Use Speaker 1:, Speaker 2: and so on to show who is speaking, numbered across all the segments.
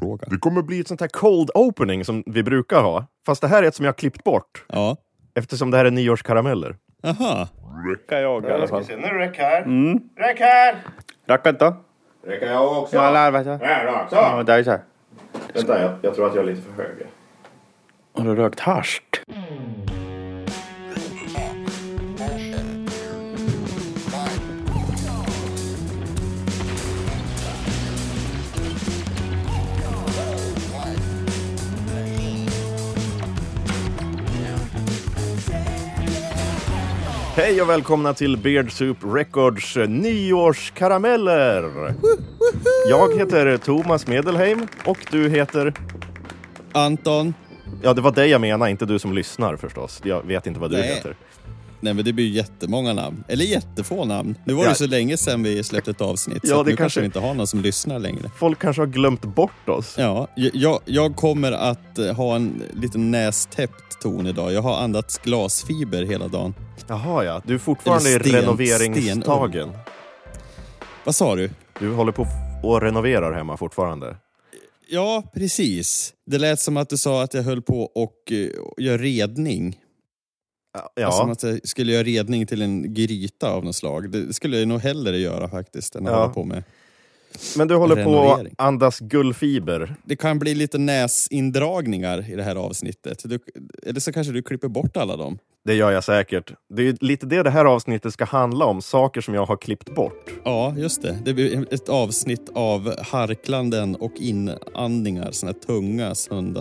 Speaker 1: fråga.
Speaker 2: Det kommer bli ett sånt här cold opening som vi brukar ha. Fast det här är ett som jag har klippt bort.
Speaker 1: Ja.
Speaker 2: Eftersom det här är nyårskarameller.
Speaker 1: Aha.
Speaker 3: Räcka jag i alla fall.
Speaker 2: Nu är det här.
Speaker 1: Mm.
Speaker 2: Räck här!
Speaker 3: Räcka inte?
Speaker 2: Räcker jag också?
Speaker 3: Jag lär mig så.
Speaker 2: Här också!
Speaker 3: Ja, det är så. här.
Speaker 2: Vänta, jag, jag tror att jag är lite för hög.
Speaker 3: Har du rökt hasch?
Speaker 2: Hej och välkomna till Beard Soup Records eh, nyårskarameller! Jag heter Thomas Medelheim och du heter...
Speaker 1: Anton.
Speaker 2: Ja, det var dig jag menade, inte du som lyssnar förstås. Jag vet inte vad du
Speaker 1: Nej.
Speaker 2: heter.
Speaker 1: Nej men det blir ju jättemånga namn. Eller jättefå namn. Nu var det
Speaker 2: Ja.
Speaker 1: ju så länge sedan vi släppte ett avsnitt
Speaker 2: Ja,
Speaker 1: så att
Speaker 2: det
Speaker 1: nu kanske
Speaker 2: kanske-
Speaker 1: vi inte har någon som lyssnar längre.
Speaker 2: Folk kanske har glömt bort oss.
Speaker 1: Ja, j- jag, jag kommer att eh, ha en liten nästäppt ton idag. Jag har andats glasfiber hela dagen.
Speaker 2: Jaha, ja. Du är fortfarande
Speaker 1: Eller sten-
Speaker 2: i renoveringstagen.
Speaker 1: Vad sa du?
Speaker 2: Du håller på och renoverar hemma fortfarande.
Speaker 1: Ja, precis. Det lät som att du sa att jag höll på och eh, gör redning.
Speaker 2: Ja,
Speaker 1: Som att jag skulle göra redning till en gryta av något slag. Det skulle jag nog hellre göra faktiskt än att
Speaker 2: Ja.
Speaker 1: hålla på med.
Speaker 2: men du håller på att
Speaker 1: renovering.
Speaker 2: andas gullfiber.
Speaker 1: Det kan bli lite näsindragningar i det här avsnittet. Du, eller så kanske du klipper bort alla dem.
Speaker 2: Det gör jag säkert. Det är ju lite det det här avsnittet ska handla om, saker som jag har klippt bort.
Speaker 1: Ja, just det. Det blir ett avsnitt av harklanden och inandningar. Såna här tunga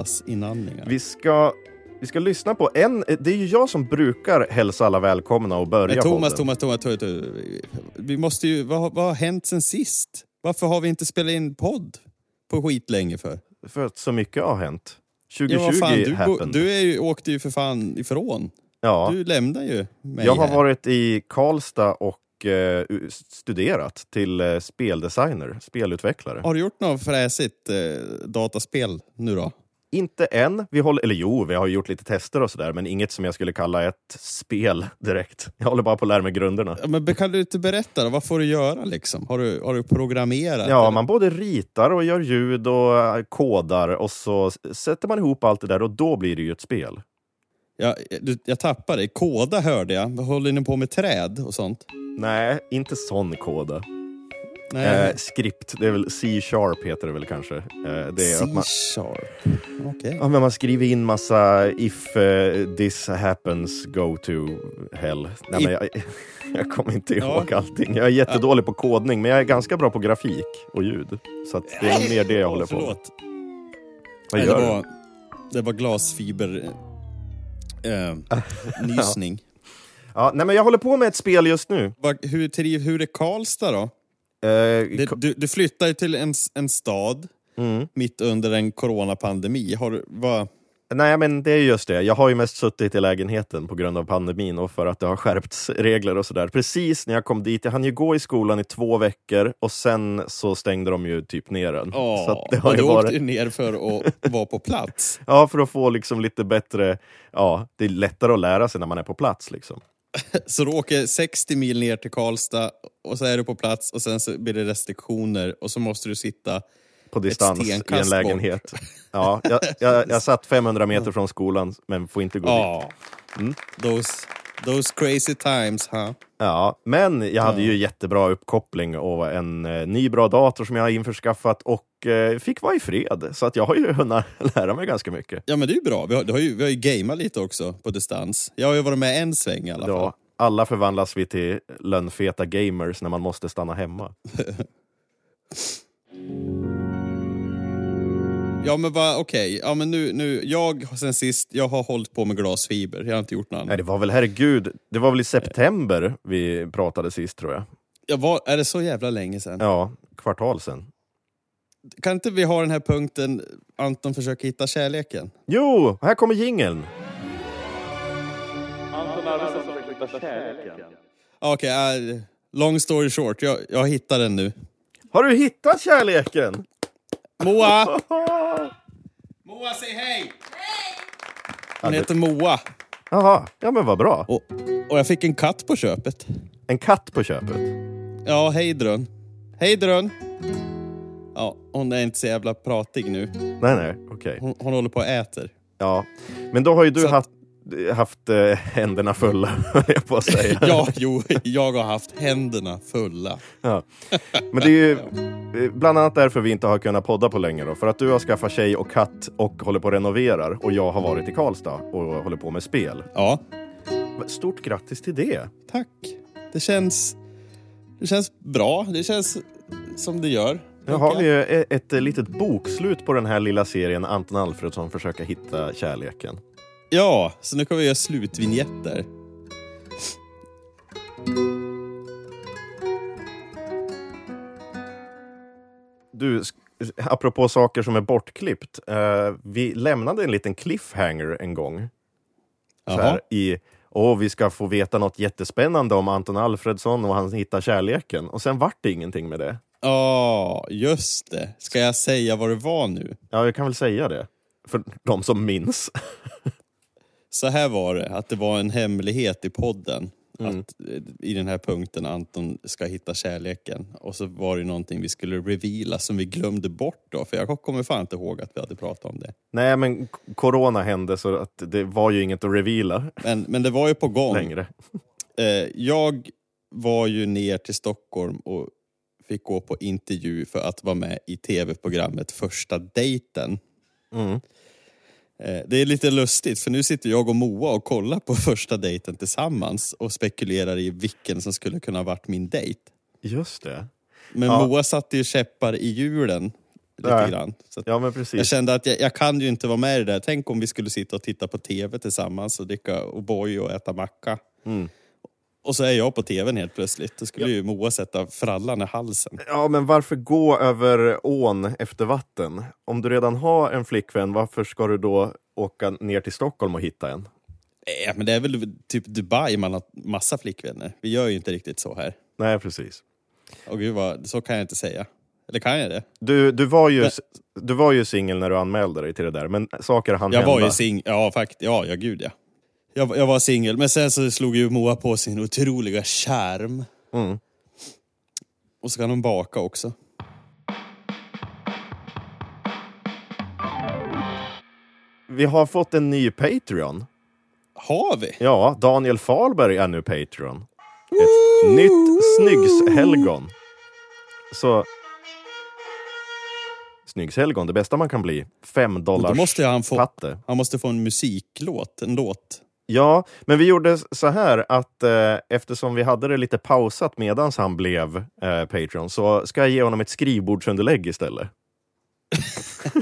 Speaker 1: söndagsinandningar.
Speaker 2: Vi ska, vi ska lyssna på en... Det är ju jag som brukar hälsa alla välkomna och börja
Speaker 1: Men Thomas,
Speaker 2: podden.
Speaker 1: Thomas, Thomas, Thomas, Thomas. Vi måste ju... Vad, har- vad har hänt sen sist? Varför har vi inte spelat in podd på skitlänge för?
Speaker 2: För att så mycket har hänt. 2020
Speaker 1: Ja, vad fan, du, bo-
Speaker 2: happened.
Speaker 1: du är ju, åkte ju för fan ifrån.
Speaker 2: ja,
Speaker 1: Du lämnar ju mig
Speaker 2: jag har
Speaker 1: här.
Speaker 2: varit i Karlstad och eh, u- studerat till eh, speldesigner, spelutvecklare.
Speaker 1: Har du gjort något fräsigt eh, dataspel nu då?
Speaker 2: Inte än. Vi håller, eller jo, vi har ju gjort lite tester och sådär, men inget som jag skulle kalla ett spel direkt. Jag håller bara på att lära mig grunderna.
Speaker 1: Ja, Men kan du inte berätta då? Vad får du göra liksom? Har du, har du programmerat?
Speaker 2: Ja,
Speaker 1: eller?
Speaker 2: man både ritar och gör ljud och eh, kodar och så s- sätter man ihop allt det där och då blir det ju ett spel.
Speaker 1: Jag, du, jag tappade det. Koda hörde jag. Vad Håller ni på med träd och sånt?
Speaker 2: Nej, inte sån koda.
Speaker 1: Nej.
Speaker 2: Eh, skript, det är väl C-sharp heter det väl kanske. Eh, det är att man,
Speaker 1: C-sharp. Okej.
Speaker 2: ja, men man skriver in massa if eh, this happens, go to hell. Nej, men
Speaker 1: If-
Speaker 2: jag, jag kommer inte
Speaker 1: Ja.
Speaker 2: ihåg allting. Jag är jättedålig på kodning, men jag är ganska bra på grafik och ljud. Så att det är mer det jag håller på med.
Speaker 1: Förlåt.
Speaker 2: Vad
Speaker 1: Nej, det,
Speaker 2: gör du?
Speaker 1: var, det var glasfiber... Eh, nysning.
Speaker 2: Ja, nej, men jag håller på med ett spel just nu.
Speaker 1: Vad- Hur, triv, hur är Karlstad då?
Speaker 2: Eh,
Speaker 1: Det, du, du flyttar ju till en, s- en stad
Speaker 2: Mm.
Speaker 1: mitt under en coronapandemi. Har, du- vad,
Speaker 2: Nej, men det är just det. Jag har ju mest suttit i lägenheten på grund av pandemin och för att det har skärpts regler och sådär. Precis när jag kom dit, jag hann ju gå i skolan i två veckor och sen så stängde de ju typ ner den.
Speaker 1: ja,
Speaker 2: Så att det har
Speaker 1: och
Speaker 2: ju
Speaker 1: du
Speaker 2: varit...
Speaker 1: åkte ju ner för att vara på plats.
Speaker 2: Ja, för att få liksom lite bättre... Ja, det är lättare att lära sig när man är på plats liksom.
Speaker 1: Så du åker 60 mil ner till Karlstad och så är du på plats och sen så blir det restriktioner och så måste du sitta...
Speaker 2: På distans i en
Speaker 1: stenkast bort.
Speaker 2: lägenhet. Ja, jag, jag, jag satt 500 meter från skolan, men får inte gå dit.
Speaker 1: Ja. Mm. Those, those crazy times, huh?
Speaker 2: Ja, men jag hade ju jättebra uppkoppling och en eh, ny bra dator som jag har införskaffat och eh, fick vara i fred. Så att jag har ju hunnit lära mig ganska mycket.
Speaker 1: Ja men det är ju bra. Vi har, det har, ju, vi har ju gameat lite också på distans. Jag har ju varit med en sväng i alla fall.
Speaker 2: Ja, alla förvandlas vi till lönnfeta gamers när man måste stanna
Speaker 1: Mm.
Speaker 2: hemma.
Speaker 1: Ja men va, okej. Ja men nu, nu, jag sen sist, jag har hållit på med glasfiber. Jag har inte gjort något
Speaker 2: Nej,
Speaker 1: annat.
Speaker 2: det var väl herregud, det var väl i september vi pratade sist tror jag.
Speaker 1: Jag var, är det så jävla länge sedan?
Speaker 2: Ja, kvartal sen.
Speaker 1: Kan inte vi ha den här punkten, Anton försöker hitta kärleken?
Speaker 2: Jo, här kommer jingeln!
Speaker 1: Ja, Okej, eh, long story short. Jag, jag hittar den nu.
Speaker 2: Har du hittat kärleken?
Speaker 1: Moa! Moa, säg hej! Hon heter Moa.
Speaker 2: Jaha, ja men vad bra.
Speaker 1: Och, och jag fick en katt på köpet.
Speaker 2: En katt på köpet.
Speaker 1: Ja, hej drön. Hej drön. Ja, hon är inte så jävla pratig nu.
Speaker 2: Nej, nej, okej.
Speaker 1: Hon, hon håller på och äter.
Speaker 2: Ja. Men då har ju du
Speaker 1: Så att-
Speaker 2: haft, haft eh, händerna fulla, höll jag på att säga.
Speaker 1: Ja, jo, jag har haft händerna fulla.
Speaker 2: Ja. Men det är ju eh, bland annat därför vi inte har kunnat podda på länge. Då, för att du har skaffat tjej och katt och håller på och renoverar. Och jag har varit i Karlstad och håller på med spel.
Speaker 1: Ja,
Speaker 2: Stort grattis till det!
Speaker 1: tack. Det känns, det känns bra. Det känns som det gör.
Speaker 2: Nu har vi ju e- ett eh, litet bokslut på den här lilla serien Anton Alfredsson försöka hitta kärleken.
Speaker 1: Ja, så nu kan vi göra slutvinjetter.
Speaker 2: Du, sk- apropå saker som är bortklippt. Eh, vi lämnade en liten cliffhanger en gång. Så
Speaker 1: Jaha.
Speaker 2: här, i, åh, vi ska få veta något jättespännande om Anton Alfredsson och han hittar kärleken. Och sen vart det ingenting med det.
Speaker 1: Ja, just det. Ska jag säga vad det var nu?
Speaker 2: Ja, jag kan väl säga det. För de som minns.
Speaker 1: Så här var det, att det var en hemlighet i podden. Att, eh, I den här punkten Anton ska hitta kärleken. Och så var det någonting vi skulle reveala som vi glömde bort då. För jag kommer fan inte ihåg att vi hade pratat om det.
Speaker 2: Nej, men k- corona hände så att det var ju inget att reveala
Speaker 1: Men, men det var ju på gång.
Speaker 2: längre.
Speaker 1: Eh, jag var ju ner till Stockholm och fick gå på intervju för att vara med i tv-programmet Första dejten.
Speaker 2: Mm.
Speaker 1: Eh, Det är lite lustigt för nu sitter jag och Moa och kollar på första dejten tillsammans och spekulerar i vilken som skulle kunna ha varit min dejt.
Speaker 2: Just det.
Speaker 1: Men
Speaker 2: Ja.
Speaker 1: Moa satte ju käppar i hjulen lite
Speaker 2: Nej.
Speaker 1: grann. Så att
Speaker 2: Ja, men
Speaker 1: jag
Speaker 2: precis.
Speaker 1: kände att jag, jag kan ju inte vara med i det där. Tänk om vi skulle sitta och titta på tv tillsammans och dricka O'boy och äta macka.
Speaker 2: Mm.
Speaker 1: Och så är jag på tvn helt plötsligt. Då skulle ju Moa sätta frallan i halsen.
Speaker 2: Ja, men varför gå över ån efter vatten? Om du redan har en flickvän, varför ska du då åka ner till Stockholm och hitta en?
Speaker 1: Äh, men det är väl typ Dubai man har massa flickvänner. Vi gör ju inte riktigt så här.
Speaker 2: Nej, precis.
Speaker 1: Och gud vad, så kan jag inte säga. Eller kan jag det?
Speaker 2: Du, du var ju, du var ju singel när du anmälde dig till det där, men saker hann
Speaker 1: Jag
Speaker 2: hända.
Speaker 1: var ju singel, ja faktiskt. Ja, ja gud ja. Jag, jag var singel, men sen så slog ju Moa på sin otroliga charm.
Speaker 2: Mm.
Speaker 1: Och så kan hon baka också.
Speaker 2: Vi har fått en ny Patreon.
Speaker 1: Har vi?
Speaker 2: Ja, Daniel Fahlberg är nu Patreon. Ett nytt snyggshelgon. Så... Snyggshelgon, det bästa man kan bli. Fem
Speaker 1: Då
Speaker 2: dollars
Speaker 1: måste ju han få,
Speaker 2: patte.
Speaker 1: han måste få en musiklåt, en låt.
Speaker 2: Ja, men vi gjorde så här att eh, eftersom vi hade det lite pausat medan han blev eh, Patreon så ska jag ge honom ett skrivbordsunderlägg istället.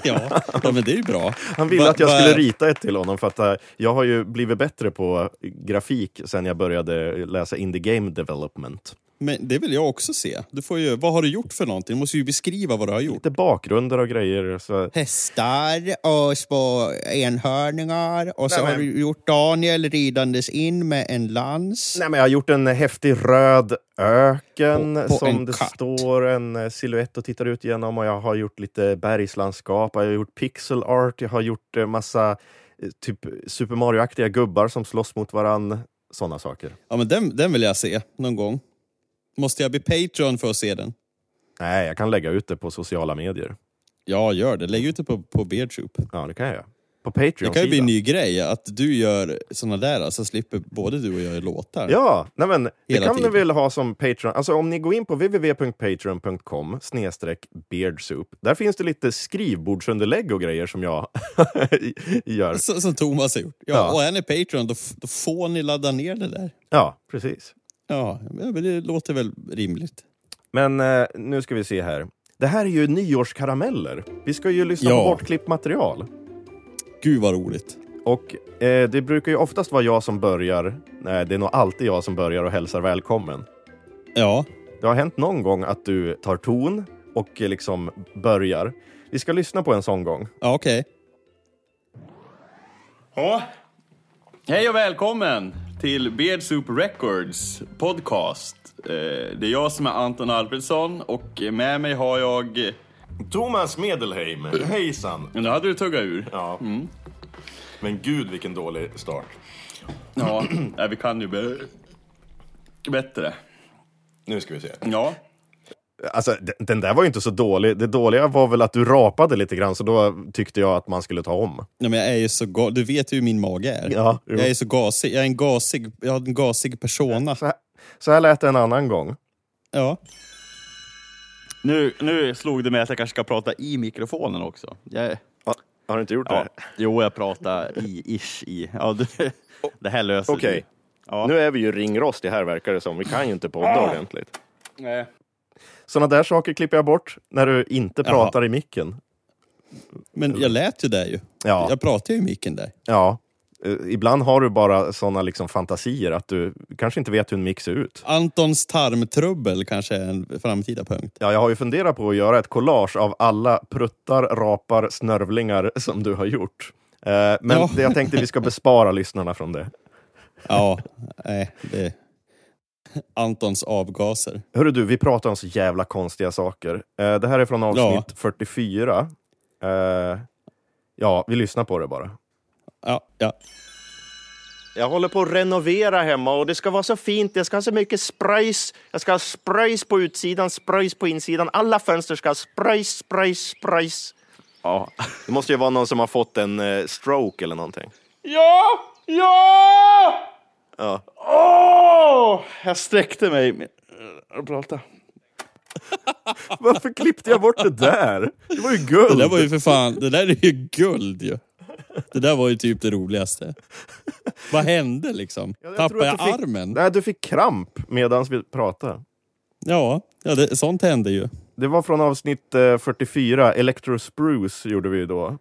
Speaker 1: Ja, ja men det är ju bra.
Speaker 2: Han ville
Speaker 1: Va-
Speaker 2: att jag
Speaker 1: va-
Speaker 2: skulle rita ett till honom för att eh, jag har ju blivit bättre på grafik sen jag började läsa Indie Game Development.
Speaker 1: Men det vill jag också se. Du får ju, vad har du gjort för någonting? Du måste ju beskriva vad du har gjort.
Speaker 2: Lite bakgrunder och grejer. Så
Speaker 1: Hästar och små enhörningar och så
Speaker 2: Nej, men-
Speaker 1: har du gjort Daniel ridandes in med en lans.
Speaker 2: Nej, men jag har gjort en häftig röd öken
Speaker 1: På- på
Speaker 2: som
Speaker 1: en
Speaker 2: det
Speaker 1: katt.
Speaker 2: står en eh, silhuett och tittar ut genom. Och jag har gjort lite bergslandskap, jag har gjort pixel art, jag har gjort eh, massa eh, typ Super Mario-aktiga gubbar som slåss mot varann. Sådana saker.
Speaker 1: Ja, men den, den vill jag se någon gång. Måste jag bli Patreon för att se den?
Speaker 2: Nej, jag kan lägga ut det på sociala medier.
Speaker 1: Ja, gör det. Lägg ut det på, på Beartroop.
Speaker 2: Ja, det kan jag göra. På
Speaker 1: Det kan ju bli en
Speaker 2: Patreon-sidan.
Speaker 1: ny grej, att du gör såna där, så slipper både du och jag göra låtar.
Speaker 2: Ja, nej men, det
Speaker 1: Hela
Speaker 2: kan
Speaker 1: tiden.
Speaker 2: ni väl ha som Patreon. Alltså om ni går in på www.patreon.com snedstreck beardsoup. Där finns det lite skrivbordsunderlägg och grejer som jag gör.
Speaker 1: Så, som Thomas har gjort. Ja,
Speaker 2: Ja.
Speaker 1: Och är ni Patreon, då, f- då får ni ladda ner det där.
Speaker 2: Ja, precis.
Speaker 1: Ja, men det låter väl rimligt.
Speaker 2: Men eh, nu ska vi se här. Det här är ju nyårskarameller. Vi ska ju lyssna
Speaker 1: Ja.
Speaker 2: på bortklippt material.
Speaker 1: Gud vad roligt.
Speaker 2: Och eh, det brukar ju oftast vara jag som börjar. Nej, det är nog alltid jag som börjar och hälsar välkommen.
Speaker 1: Ja,
Speaker 2: Det har hänt någon gång att du tar ton och eh, liksom börjar. Vi ska lyssna på en sån gång.
Speaker 1: ja okej.
Speaker 4: Ja. Hej och välkommen till Beard Soup Records podcast. Eh, Det är jag som är Anton Alfredsson och med mig har jag...
Speaker 2: Thomas Medelheim, hejsan!
Speaker 4: Nu hade du tuggat ur.
Speaker 2: Ja. Men gud vilken dålig start.
Speaker 4: Ja, nej, vi kan ju be- bättre.
Speaker 2: Nu ska vi se.
Speaker 4: Ja.
Speaker 2: Alltså, d- den där var ju inte så dålig. Det dåliga var väl att du rapade lite grann, så då tyckte jag att man skulle ta om.
Speaker 1: Nej, men jag är ju så ga- Du vet ju hur min mage är.
Speaker 2: Ja, jo.
Speaker 1: jag är så gasig. Jag är en gasig, jag har en gasig persona.
Speaker 2: Så här, så här lät det en annan gång.
Speaker 1: Ja.
Speaker 4: Nu, nu slog det mig att jag kanske ska prata i mikrofonen också. Jag,
Speaker 2: Har du inte gjort
Speaker 4: ja. Jo, jag pratar i, ish i. Ja, det, det här löser
Speaker 2: Okej.
Speaker 4: vi. Ja.
Speaker 2: Nu är vi ju ringrostiga här verkar det som. Vi kan ju inte podda ordentligt.
Speaker 4: Nej.
Speaker 2: Sådana där saker klipper jag bort när du inte
Speaker 1: Jaha.
Speaker 2: pratar i micken.
Speaker 1: Men jag lät ju där ju.
Speaker 2: Ja.
Speaker 1: Jag pratade ju i micken där.
Speaker 2: Ja. Eh, Ibland har du bara såna liksom fantasier att du kanske inte vet hur en mix ser ut.
Speaker 1: Antons tarmtrubbel kanske är en framtida punkt.
Speaker 2: Ja, jag har ju funderat på att göra ett collage av alla pruttar, rapar, snörvlingar som du har gjort. Eh, Men
Speaker 1: Ja.
Speaker 2: det jag tänkte vi ska bespara lyssnarna från det.
Speaker 1: Ja, nej, det... Antons avgaser.
Speaker 2: Hörru du, vi pratar om så jävla konstiga saker. Eh, Det här är från avsnitt 44. Eh, Ja, vi lyssnar på det bara.
Speaker 1: Ja, ja.
Speaker 2: Jag håller på att renovera hemma och det ska vara så fint. Jag ska ha så mycket spröjs. Jag ska ha spröjs på utsidan, spröjs på insidan. Alla fönster ska ha spröjs, spröjs, spröjs.
Speaker 4: Ja.
Speaker 2: Det måste ju vara någon som har fått en eh, stroke eller någonting.
Speaker 4: Ja! Ja!
Speaker 2: Ja.
Speaker 4: Åh! Jag sträckte mig. Jag pratade.
Speaker 2: Varför klippte jag bort det där? Det var ju
Speaker 1: Det där
Speaker 2: guld!
Speaker 1: var ju för fan, det där är ju guld ju. Det där var ju typ det roligaste. Vad hände liksom?
Speaker 2: jag tror
Speaker 1: Tappade
Speaker 2: att
Speaker 1: jag
Speaker 2: du fick-
Speaker 1: armen?
Speaker 2: Nej, du fick kramp medan vi pratade.
Speaker 1: Ja, ja det, sånt hände ju.
Speaker 2: Det var från avsnitt eh, 44, Electro Spruce gjorde vi ju då.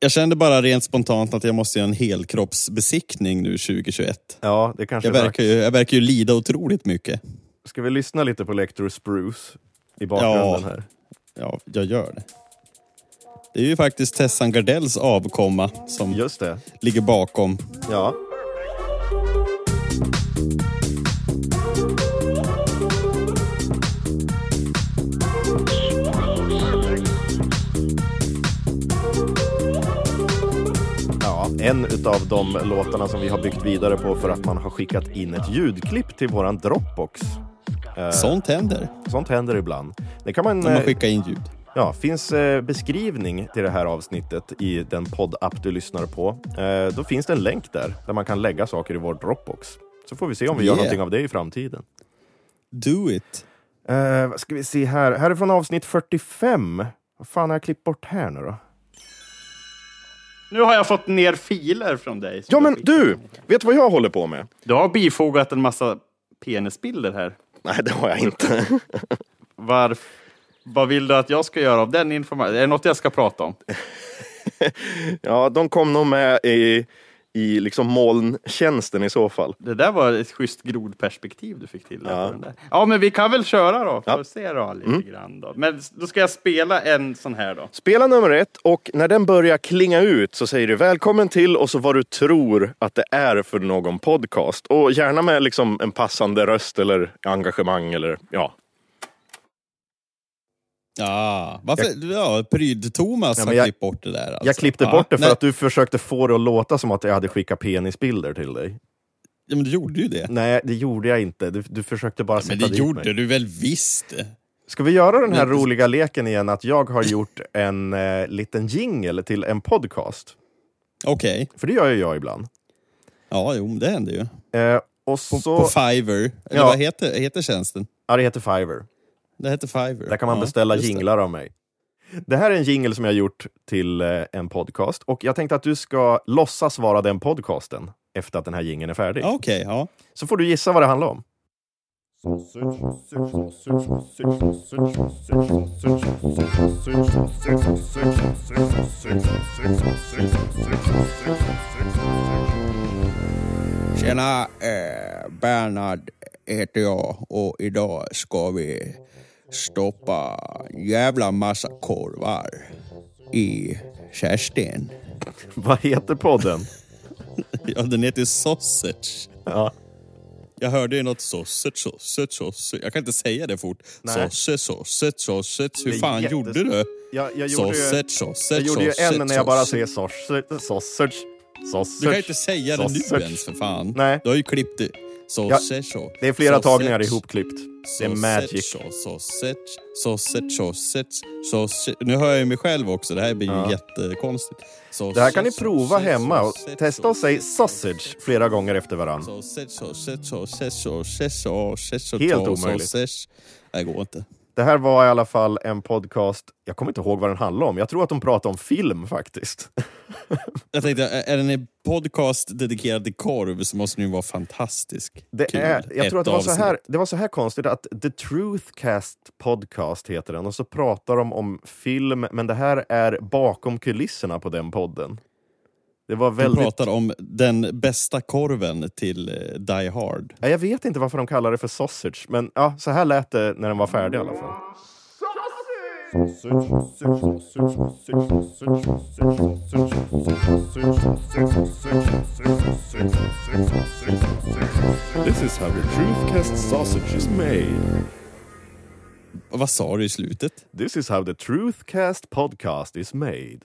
Speaker 1: Jag kände bara rent spontant att jag måste göra en helkroppsbesiktning nu 2021.
Speaker 2: Ja, det kanske
Speaker 1: Jag
Speaker 2: är dags.
Speaker 1: verkar ju, jag verkar ju lida otroligt mycket.
Speaker 2: Ska vi lyssna lite på Electro Spruce i bakgrunden
Speaker 1: Ja.
Speaker 2: här?
Speaker 1: Ja, jag gör det. Det är ju faktiskt Tessan Gardells avkomma som
Speaker 2: Just det.
Speaker 1: ligger bakom.
Speaker 2: Ja. Ja, en utav de låtarna som vi har byggt vidare på för att man har skickat in ett ljudklipp till våran Dropbox.
Speaker 4: Äh.
Speaker 1: Sånt händer
Speaker 2: Sånt händer ibland. Det kan man...
Speaker 1: när man
Speaker 2: eh,
Speaker 1: skickar in ljud.
Speaker 2: Ja, finns eh, beskrivning till det här avsnittet i den poddapp du lyssnar på. Eh, då finns det en länk där, där man kan lägga saker i vår Dropbox. Så får vi se om vi gör
Speaker 1: Yeah.
Speaker 2: någonting av det i framtiden.
Speaker 1: Do it.
Speaker 2: Eh, vad ska vi se här? Här är från avsnitt 45. Vad fan har jag klippt bort här nu då?
Speaker 4: Nu har jag fått ner filer från dig.
Speaker 2: Ja, men du! Vet du vad jag håller på med?
Speaker 4: Du har bifogat en massa penisbilder här.
Speaker 2: Nej, det har jag inte.
Speaker 4: Varf, vad vill du att jag ska göra av den informationen? Är det något jag ska prata om?
Speaker 2: ja, de kom nog med i, i liksom molntjänsten i så fall.
Speaker 4: Det där var ett schysst grodperspektiv du fick till. där
Speaker 2: Ja.
Speaker 4: på den där. ja, men vi kan väl köra då. Får
Speaker 2: Ja. Mm.
Speaker 4: se då lite grann då. Men då ska jag spela en sån här då.
Speaker 2: Spela nummer ett och när den börjar klinga ut så säger du välkommen till och så vad du tror att det är för någon podcast. Och gärna med liksom en passande röst eller engagemang eller ja.
Speaker 1: Ja, varför? Ja, Pryd-Thomas
Speaker 2: Ja, men
Speaker 1: har
Speaker 2: jag-
Speaker 1: klippt bort det där. Alltså.
Speaker 2: Jag klippte
Speaker 1: ja,
Speaker 2: bort det för
Speaker 1: nej,
Speaker 2: att du försökte få det att låta som att jag hade skickat penisbilder till dig.
Speaker 1: Ja, men du gjorde ju det.
Speaker 2: Nej, det gjorde jag inte. Du, du försökte bara sätta
Speaker 1: men det
Speaker 2: Mm. dit
Speaker 1: gjorde
Speaker 2: mig.
Speaker 1: du väl visst?
Speaker 2: Ska vi göra den här roliga leken igen att jag har gjort en eh, liten jingle till en podcast?
Speaker 1: Okej.
Speaker 2: För det gör ju jag ibland.
Speaker 1: Ja, jo, men det hände ju.
Speaker 2: Eh, och
Speaker 1: På,
Speaker 2: så...
Speaker 1: på Fiverr. Eller
Speaker 2: Ja.
Speaker 1: vad heter, heter tjänsten?
Speaker 2: ja, det heter Fiverr.
Speaker 1: Det heter Fiverr.
Speaker 2: Där kan man
Speaker 1: ja,
Speaker 2: beställa
Speaker 1: just det.
Speaker 2: jinglar av mig. Det här är en jingle som jag gjort till eh, en podcast och jag tänkte att du ska låtsas vara den podcasten efter att den här jingeln är färdig.
Speaker 1: Ja, Okej, ja.
Speaker 2: Så får du gissa vad det handlar om.
Speaker 1: Tjena, eh, Bernhard heter jag och idag ska vi stoppa en jävla massa korvar i Kerstin.
Speaker 2: Vad heter podden?
Speaker 1: Ja, den heter ju Sausage.
Speaker 2: Ja.
Speaker 1: Jag hörde ju något sausage, sausage, sausage. Jag kan inte säga det fort.
Speaker 2: Nej.
Speaker 1: Sausage, sausage, sausage.
Speaker 2: Det är
Speaker 1: Hur fan
Speaker 2: jättes-
Speaker 1: gjorde du?
Speaker 2: Jag, jag gjorde ju,
Speaker 1: Sausage, sausage,
Speaker 2: jag gjorde ju en
Speaker 1: sausage,
Speaker 2: när jag bara
Speaker 1: sausage.
Speaker 2: säger sausage. sausage, sausage
Speaker 1: Du kan ju inte säga det nu
Speaker 2: sausage.
Speaker 1: ens för fan.
Speaker 2: Nej.
Speaker 1: Du har ju klippt det. Sausage.
Speaker 2: Det är flera
Speaker 1: sausage,
Speaker 2: tagningar ihopklippt. Det är
Speaker 1: sausage,
Speaker 2: magic.
Speaker 1: Sausage, sausage, sausage, sausage. Nu hör jag ju mig själv också, det här blir ju jättekonstigt. Sausage,
Speaker 2: Det här kan ni prova
Speaker 1: sausage,
Speaker 2: hemma. och
Speaker 1: sausage,
Speaker 2: Testa och säg sausage flera gånger efter varann.
Speaker 1: Sausage, sausage, sausage, sausage, sausage, sausage,
Speaker 2: Helt omöjligt.
Speaker 1: sausage. Nej, det går inte.
Speaker 2: Det här var i alla fall en podcast, jag kommer inte ihåg vad den handlade om. Jag tror att de pratade om film faktiskt.
Speaker 1: Jag tänkte, är är den en podcast dedikerad till korv så måste den ju vara fantastisk.
Speaker 2: Det
Speaker 1: Kul.
Speaker 2: är, jag
Speaker 1: Ett
Speaker 2: tror att det var, så
Speaker 1: avsnitt.
Speaker 2: här, det var så här konstigt att The Truthcast Podcast heter den och så pratar de om film, men det här är bakom kulisserna på den podden. Det var
Speaker 1: De
Speaker 2: väldigt...
Speaker 1: pratar om den bästa korven till eh, Die Hard.
Speaker 2: Ja, Jag vet inte varför de kallar det för sausage, men ja, så här lät det när den var färdig i alla fall.
Speaker 5: This is how the Truthcast sausage is made.
Speaker 1: Vad sa du i slutet?
Speaker 2: This is how the Truthcast Podcast is made.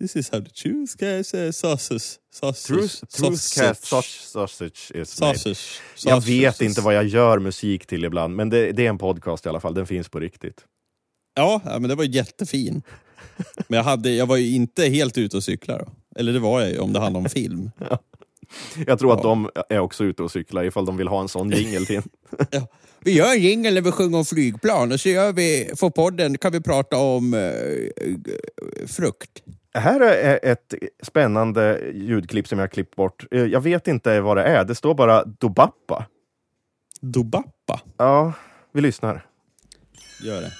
Speaker 1: This is how the choose guys uh, sausage. Sausage.
Speaker 2: Truth, Truthcast sausage, sausage is made.
Speaker 1: Sausage.
Speaker 2: Jag vet inte vad jag gör musik till ibland, men det, det är en podcast i alla fall. Den finns på riktigt.
Speaker 1: Ja, ja, men det var jättefin. Men jag, hade, jag var ju inte helt ute och cyklar. Då. Eller det var jag ju om det handlade om film.
Speaker 2: Jag tror att de är också ute och cyklar ifall de vill ha en sån jingel till.
Speaker 1: Ja. Vi gör en jingel när vi sjunger om flygplan och så gör vi, för podden kan vi prata om eh, frukt.
Speaker 2: Här är e-, ett spännande ljudklipp som jag har klippt bort. Eh, Jag vet inte vad det är. Det står bara Dobappa.
Speaker 1: Dobappa.
Speaker 2: Ja, vi lyssnar.
Speaker 1: Gör det.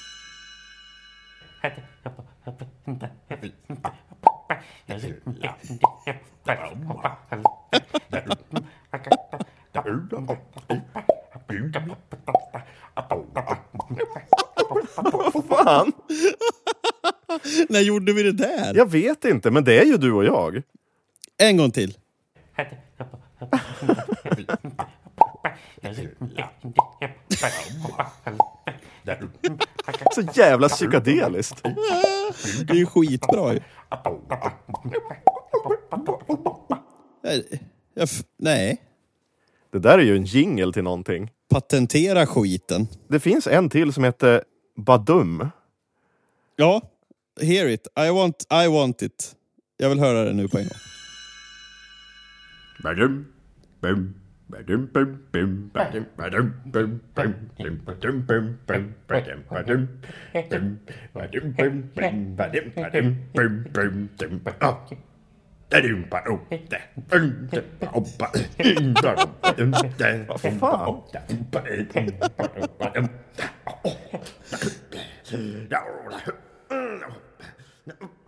Speaker 2: Fan!
Speaker 1: När gjorde vi det där?
Speaker 2: Jag vet inte, men det är ju du och jag.
Speaker 1: En gång till.
Speaker 2: Så jävla psykedeliskt.
Speaker 1: Det är ju skitbra ju. Jag, jag, f- nej.
Speaker 2: Det där är ju en jingel till någonting.
Speaker 1: Patentera skiten.
Speaker 2: Det finns en till som heter Badum.
Speaker 1: Ja. Hear it. I want, I want it. Jag vill höra det nu på en gång.
Speaker 5: Badum, bum, badum, bum, bum, badum, badum, bum, bum, bum, badum, bum, bum, badum, badum, bum, badum, bum, bum, badum, badum, bum, bum, dum, ba- ah. Dadum, ba- oh, da. Bum, da, ba- oh, ba- in, ba- oh, badum, da. Bum, ba- oh, da. Ba- eh, bum, ba- oh, badum, da. Ah, oh, da, da. Da, oh, da. Mm, oh.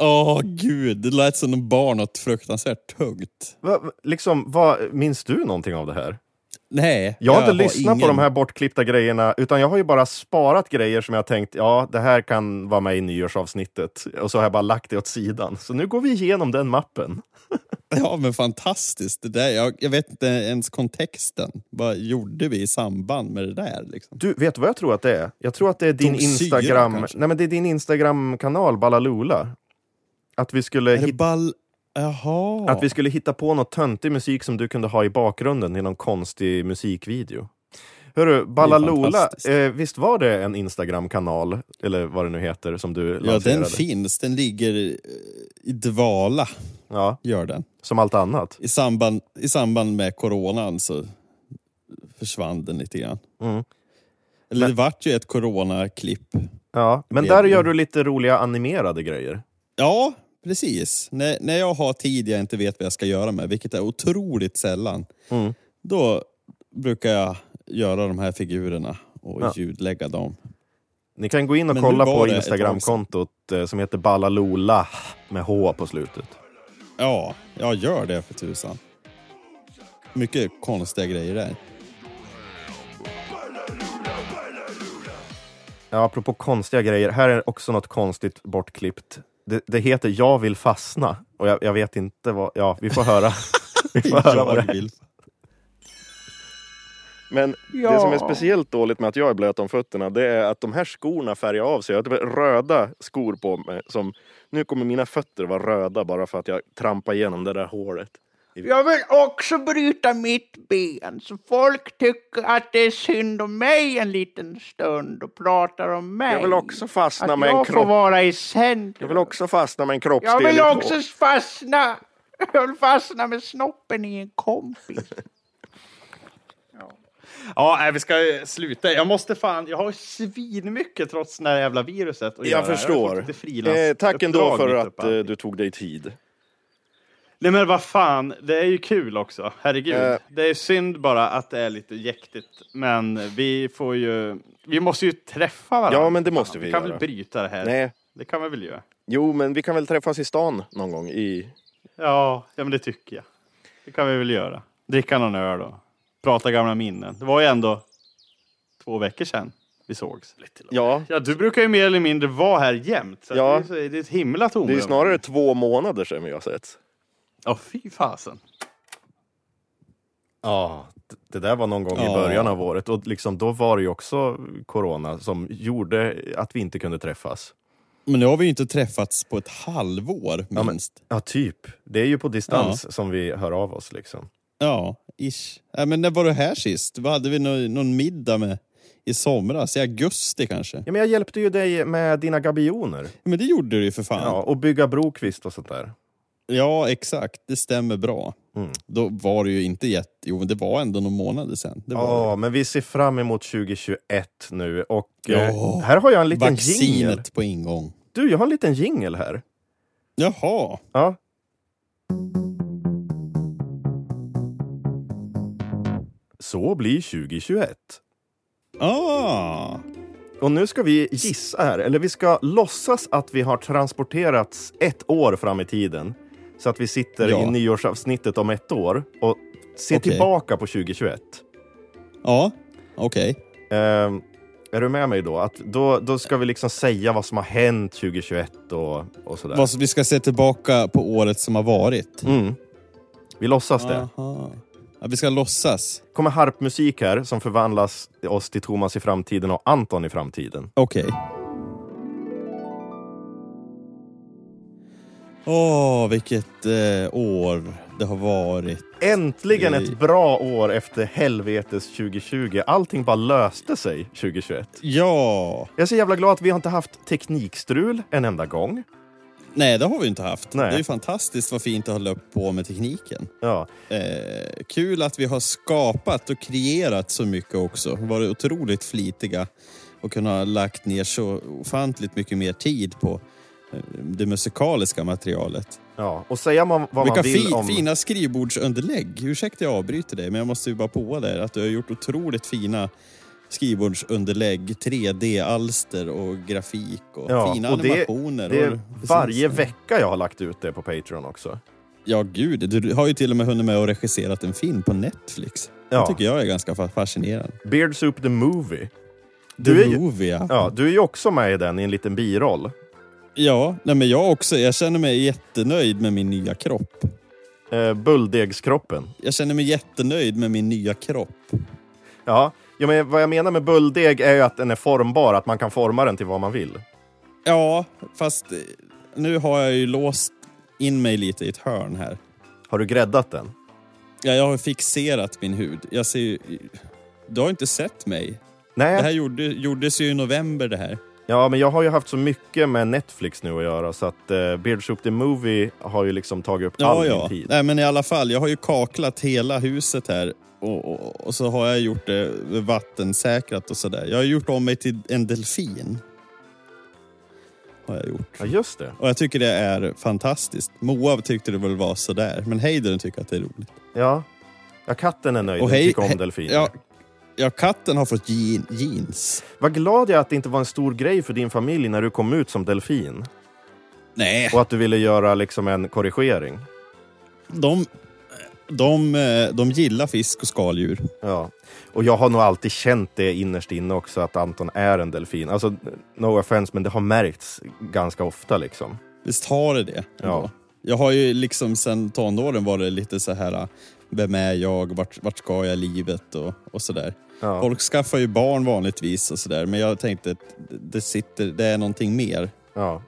Speaker 1: Åh gud, det lät som en barn något fruktansvärt tungt.
Speaker 2: Va, va- liksom, vad, minns du någonting av det här?
Speaker 1: Nej.
Speaker 2: Jag har inte lyssnat
Speaker 1: ingen-
Speaker 2: på de här bortklippta grejerna, utan jag har ju bara sparat grejer som jag tänkt, ja, det här kan vara med i nyårsavsnittet. Och så har jag bara lagt det åt sidan. Så nu går vi igenom den mappen.
Speaker 1: Ja, men fantastiskt. Det där, jag, jag vet inte ens kontexten. Vad gjorde vi i samband med det där? Liksom?
Speaker 2: Du, vet du vad jag tror att det är? Jag tror att det är din
Speaker 1: Tog syra,
Speaker 2: Instagram...
Speaker 1: kanske?
Speaker 2: Nej, men det är din Instagram-kanal, Balalola. Att vi skulle
Speaker 1: Är det
Speaker 2: hitta...
Speaker 1: ball... Jaha.
Speaker 2: Att vi skulle hitta på något töntig musik som du kunde ha i bakgrunden i någon konstig musikvideo. Hörru, Ballalola,
Speaker 1: fantastiskt.
Speaker 2: eh, visst var det en Instagram-kanal, eller vad det nu heter, som du
Speaker 1: Ja,
Speaker 2: lanserade?
Speaker 1: den finns. Den ligger eh, i dvala,
Speaker 2: Ja,
Speaker 1: gör den.
Speaker 2: som allt annat.
Speaker 1: I samband, I samband med coronan så försvann den lite grann. Eller det vart ju ett coronaklipp.
Speaker 2: Ja, men
Speaker 1: vet
Speaker 2: där
Speaker 1: inte.
Speaker 2: gör du lite roliga animerade grejer.
Speaker 1: Ja, precis. När, när jag har tid jag inte vet vad jag ska göra med, vilket är otroligt sällan, då brukar jag göra de här figurerna och ljudlägga dem.
Speaker 2: Ni kan gå in och
Speaker 1: Men
Speaker 2: kolla
Speaker 1: nu var
Speaker 2: på
Speaker 1: det ett
Speaker 2: Instagram-kontot eh, som heter Ballalola med H på slutet.
Speaker 1: Ja, jag gör det för tusan. Mycket konstiga grejer där.
Speaker 2: Ja, apropå konstiga grejer, här är också något konstigt bortklippt. Det, det heter Jag vill fastna och jag, jag vet inte vad... Ja, vi får höra. vi får höra vad det
Speaker 1: Jag vill.
Speaker 2: Men det som är speciellt dåligt med att jag är blöt om fötterna det är att de här skorna färgar av sig. Jag har typ röda skor på mig. Som, nu kommer mina fötter vara röda bara för att jag trampar igenom det där hålet.
Speaker 6: Jag vill också bryta mitt ben så folk tycker att det är synd om mig en liten stund och pratar om mig.
Speaker 2: Jag vill också fastna
Speaker 6: att
Speaker 2: med en
Speaker 6: jag får
Speaker 2: kropp.
Speaker 6: vara i
Speaker 2: Jag
Speaker 6: centrum.
Speaker 2: vill också fastna med en
Speaker 6: Jag
Speaker 2: kroppsdel
Speaker 6: vill
Speaker 2: i ett
Speaker 6: också fastna. Jag vill fastna med snoppen i en kompis.
Speaker 1: Ja, nej, vi ska eh, sluta. Jag måste fan, jag har svinmycket trots det här jävla viruset att göra.
Speaker 2: Jag
Speaker 1: har
Speaker 2: förstår.
Speaker 1: fått lite
Speaker 2: eh, tack ändå
Speaker 1: frilansuppdrag
Speaker 2: för
Speaker 1: mitt
Speaker 2: att
Speaker 1: uppe.
Speaker 2: eh, du tog dig tid.
Speaker 1: Nej men vad fan, det är ju kul också. Herregud.
Speaker 2: Eh.
Speaker 1: Det är synd bara att det är lite jäktigt. Men vi får ju, vi måste ju träffa varandra.
Speaker 2: Ja, men det måste
Speaker 1: Fan,
Speaker 2: vi
Speaker 1: Vi kan
Speaker 2: göra.
Speaker 1: väl bryta det här?
Speaker 2: Nej,
Speaker 1: Det kan vi väl göra?
Speaker 2: jo, men vi kan väl träffas i stan någon gång i...
Speaker 1: Ja, ja men det tycker jag. Det kan vi väl göra. Dricka någon öl och prata gamla minnen. Det var ju ändå två veckor sedan vi sågs.
Speaker 2: Ja,
Speaker 1: Ja, du brukar ju mer eller mindre vara här jämt. Så
Speaker 2: Ja.
Speaker 1: ja. det, är, det är ett himla tomrum.
Speaker 2: det är ju snarare två månader sedan vi har sett.
Speaker 1: Ja, fy fasen.
Speaker 2: Ja, d- det där var någon gång i
Speaker 1: Ja.
Speaker 2: början av året och liksom, då var det ju också corona som gjorde att vi inte kunde träffas.
Speaker 1: Men nu har vi ju inte träffats på ett halvår minst.
Speaker 2: Ja, typ. Det är ju på distans som vi hör av oss liksom.
Speaker 1: Ja, ish. Ja, men när var du här sist? Vad hade vi någon, någon middag med i somras? I augusti kanske?
Speaker 2: Ja, men jag hjälpte ju dig med dina gabioner
Speaker 1: Ja, men det gjorde du ju för fan.
Speaker 2: ja,
Speaker 1: Ja,
Speaker 2: och bygga brokvist och sånt där.
Speaker 1: exakt. Det stämmer bra.
Speaker 2: Mm.
Speaker 1: Då var det ju inte jätte... Jo, men det var ändå någon månad sedan. Det var
Speaker 2: Ja, men vi ser fram emot 2021 nu och eh,
Speaker 1: Ja.
Speaker 2: här har jag en liten jingel.
Speaker 1: vaccinet på ingång.
Speaker 2: Du, jag har en liten jingel här.
Speaker 1: Jaha.
Speaker 2: Ja. Så blir 2021.
Speaker 1: Ah.
Speaker 2: Och nu ska vi gissa här, eller vi ska låtsas att vi har transporterats ett år fram i tiden. Så att vi sitter
Speaker 1: Ja.
Speaker 2: i nyårsavsnittet om ett år och ser
Speaker 1: Okej.
Speaker 2: tillbaka på 2021.
Speaker 1: Ja, okej.
Speaker 2: Ehm, är du med mig då? Att då? Då ska vi liksom säga vad som har hänt 2021 och, och sådär.
Speaker 1: Vad- Vi ska se tillbaka på året som har varit.
Speaker 2: Mm. Vi låtsas det.
Speaker 1: Aha. Ja, vi ska låtsas.
Speaker 2: kommer harpmusik här som förvandlas oss till Thomas i framtiden och Anton i framtiden.
Speaker 1: Okej. Åh, vilket eh, år det har varit.
Speaker 2: Äntligen
Speaker 1: Yay.
Speaker 2: ett bra år efter helvetes 2020. Allting bara löste sig 2021.
Speaker 1: Ja!
Speaker 2: Jag är så jävla glad att vi har inte haft teknikstrul en enda gång.
Speaker 1: Nej, det har vi inte haft.
Speaker 2: Nej.
Speaker 1: Det är ju fantastiskt vad fint det har löpt på med tekniken.
Speaker 2: Ja,
Speaker 1: Eh, kul att vi har skapat och kreerat så mycket också. Varit otroligt flitiga och kunnat ha lagt ner så ofantligt mycket mer tid på eh, det musikaliska materialet.
Speaker 2: ja. och säga man, vad
Speaker 1: Vilka
Speaker 2: man vill
Speaker 1: fi-
Speaker 2: om...
Speaker 1: fina skrivbordsunderlägg. Ursäkta jag avbryter dig, men jag måste ju bara på där att du har gjort otroligt fina skrivbordsunderlägg, 3D-alster och grafik och
Speaker 2: Ja,
Speaker 1: fina
Speaker 2: och det,
Speaker 1: animationer.
Speaker 2: det är
Speaker 1: och-
Speaker 2: varje vecka jag har lagt ut det på Patreon också.
Speaker 1: Ja, gud. Du har ju till och med hunnit med och regisserat en film på Netflix.
Speaker 2: Ja.
Speaker 1: Det tycker jag är ganska fa- fascinerande.
Speaker 2: Beard Soup the Movie.
Speaker 1: Du
Speaker 2: Du är
Speaker 1: The
Speaker 2: ju-
Speaker 1: Movie, ja.
Speaker 2: Ja, du är ju också med i den i en liten biroll.
Speaker 1: Ja, nej, men jag också. Jag känner mig jättenöjd med min nya kropp.
Speaker 2: Eh, bulldegskroppen.
Speaker 1: Jag känner mig jättenöjd med min nya kropp.
Speaker 2: Ja, ja men vad jag menar med bulldeg är ju att den är formbar, att man kan forma den till vad man vill.
Speaker 1: Ja, fast eh, nu har jag ju låst in mig lite i ett hörn här.
Speaker 2: Har du gräddat den?
Speaker 1: Ja, jag har fixerat min hud. Jag ser ju... Du har inte sett mig. Det
Speaker 2: Nej,
Speaker 1: här gjorde, gjordes ju i november det här.
Speaker 2: ja, men jag har ju haft så mycket med Netflix nu att göra så att eh, Beard Soup the Movie har ju liksom tagit upp all
Speaker 1: Ja, ja.
Speaker 2: min tid.
Speaker 1: Nej, men i alla fall. Jag har ju kaklat hela huset här. Och, och, och så har jag gjort det vattensäkrat och sådär. Jag har gjort om mig till en delfin. Har jag gjort.
Speaker 2: Ja, just det.
Speaker 1: Och jag tycker det är fantastiskt. Moa tyckte det väl var sådär, men Heidern tycker att det är roligt.
Speaker 2: Ja. ja, katten är nöjd.
Speaker 1: Och
Speaker 2: Och
Speaker 1: hej-
Speaker 2: tycker om
Speaker 1: he-
Speaker 2: delfiner.
Speaker 1: Ja, ja, katten har fått je- jeans.
Speaker 2: Vad glad jag är att det inte var en stor grej för din familj när du kom ut som delfin.
Speaker 1: Nej,
Speaker 2: Och att du ville göra liksom en korrigering.
Speaker 1: de, de, eh, de gillar fisk och skaldjur.
Speaker 2: Ja. Och jag har nog alltid känt det innerst inne också, att Anton är en delfin. Alltså, no offense, men det har märkts ganska ofta liksom.
Speaker 1: Visst har det det?
Speaker 2: Ja.
Speaker 1: Jag har ju liksom sen tonåren varit lite så här vem är jag, vart, vart ska jag i livet och, och sådär. Folk skaffar ju barn vanligtvis och sådär, men jag tänkte att det, sitter, det är någonting mer.
Speaker 2: Ja,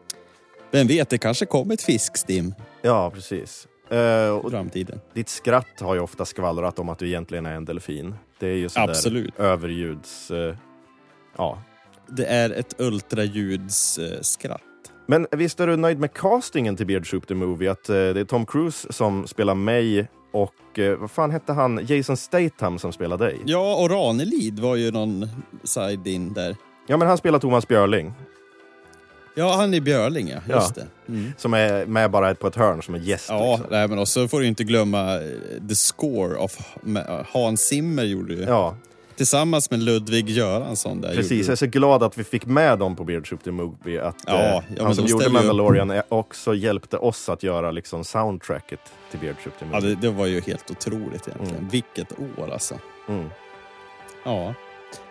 Speaker 1: Vem vet, det kanske kommer ett fiskstim
Speaker 2: ja precis. Eh,
Speaker 1: i
Speaker 2: och
Speaker 1: framtiden.
Speaker 2: ditt skratt har ju ofta skvallrat om att du egentligen är en delfin. Det är ju sådär
Speaker 1: Absolut.
Speaker 2: överljuds... eh, ja.
Speaker 1: Det är ett ultraljudsskratt.
Speaker 2: Men visst är du nöjd med castingen till Beard Soup the Movie? Att eh, det är Tom Cruise som spelar mig och eh, vad fan hette han? Jason Statham som spelar dig?
Speaker 1: Ja, och Ranelid var ju någon side-in där.
Speaker 2: Ja, men han spelar Thomas Björling
Speaker 1: Ja, han är Björling, ja. Just
Speaker 2: Ja.
Speaker 1: det. Mm.
Speaker 2: som är med bara på ett hörn som en gäst.
Speaker 1: Ja,
Speaker 2: liksom.
Speaker 1: nej, men också får du inte glömma eh, The Score av Hans Zimmer gjorde ju.
Speaker 2: ja
Speaker 1: Tillsammans med Ludvig Göransson där.
Speaker 2: Precis, jag är
Speaker 1: Gjorde.
Speaker 2: så glad att vi fick med dem på Beard Soup the Movie. Att
Speaker 1: Ja,
Speaker 2: eh,
Speaker 1: ja, men
Speaker 2: han som
Speaker 1: de
Speaker 2: gjorde
Speaker 1: ställer ju upp.
Speaker 2: Mandalorian är- också hjälpte oss att göra liksom soundtracket till Beard Soup the
Speaker 1: Ja,
Speaker 2: Movie.
Speaker 1: det, det var ju helt otroligt egentligen. Vilket år alltså.
Speaker 2: Mm.
Speaker 1: Ja.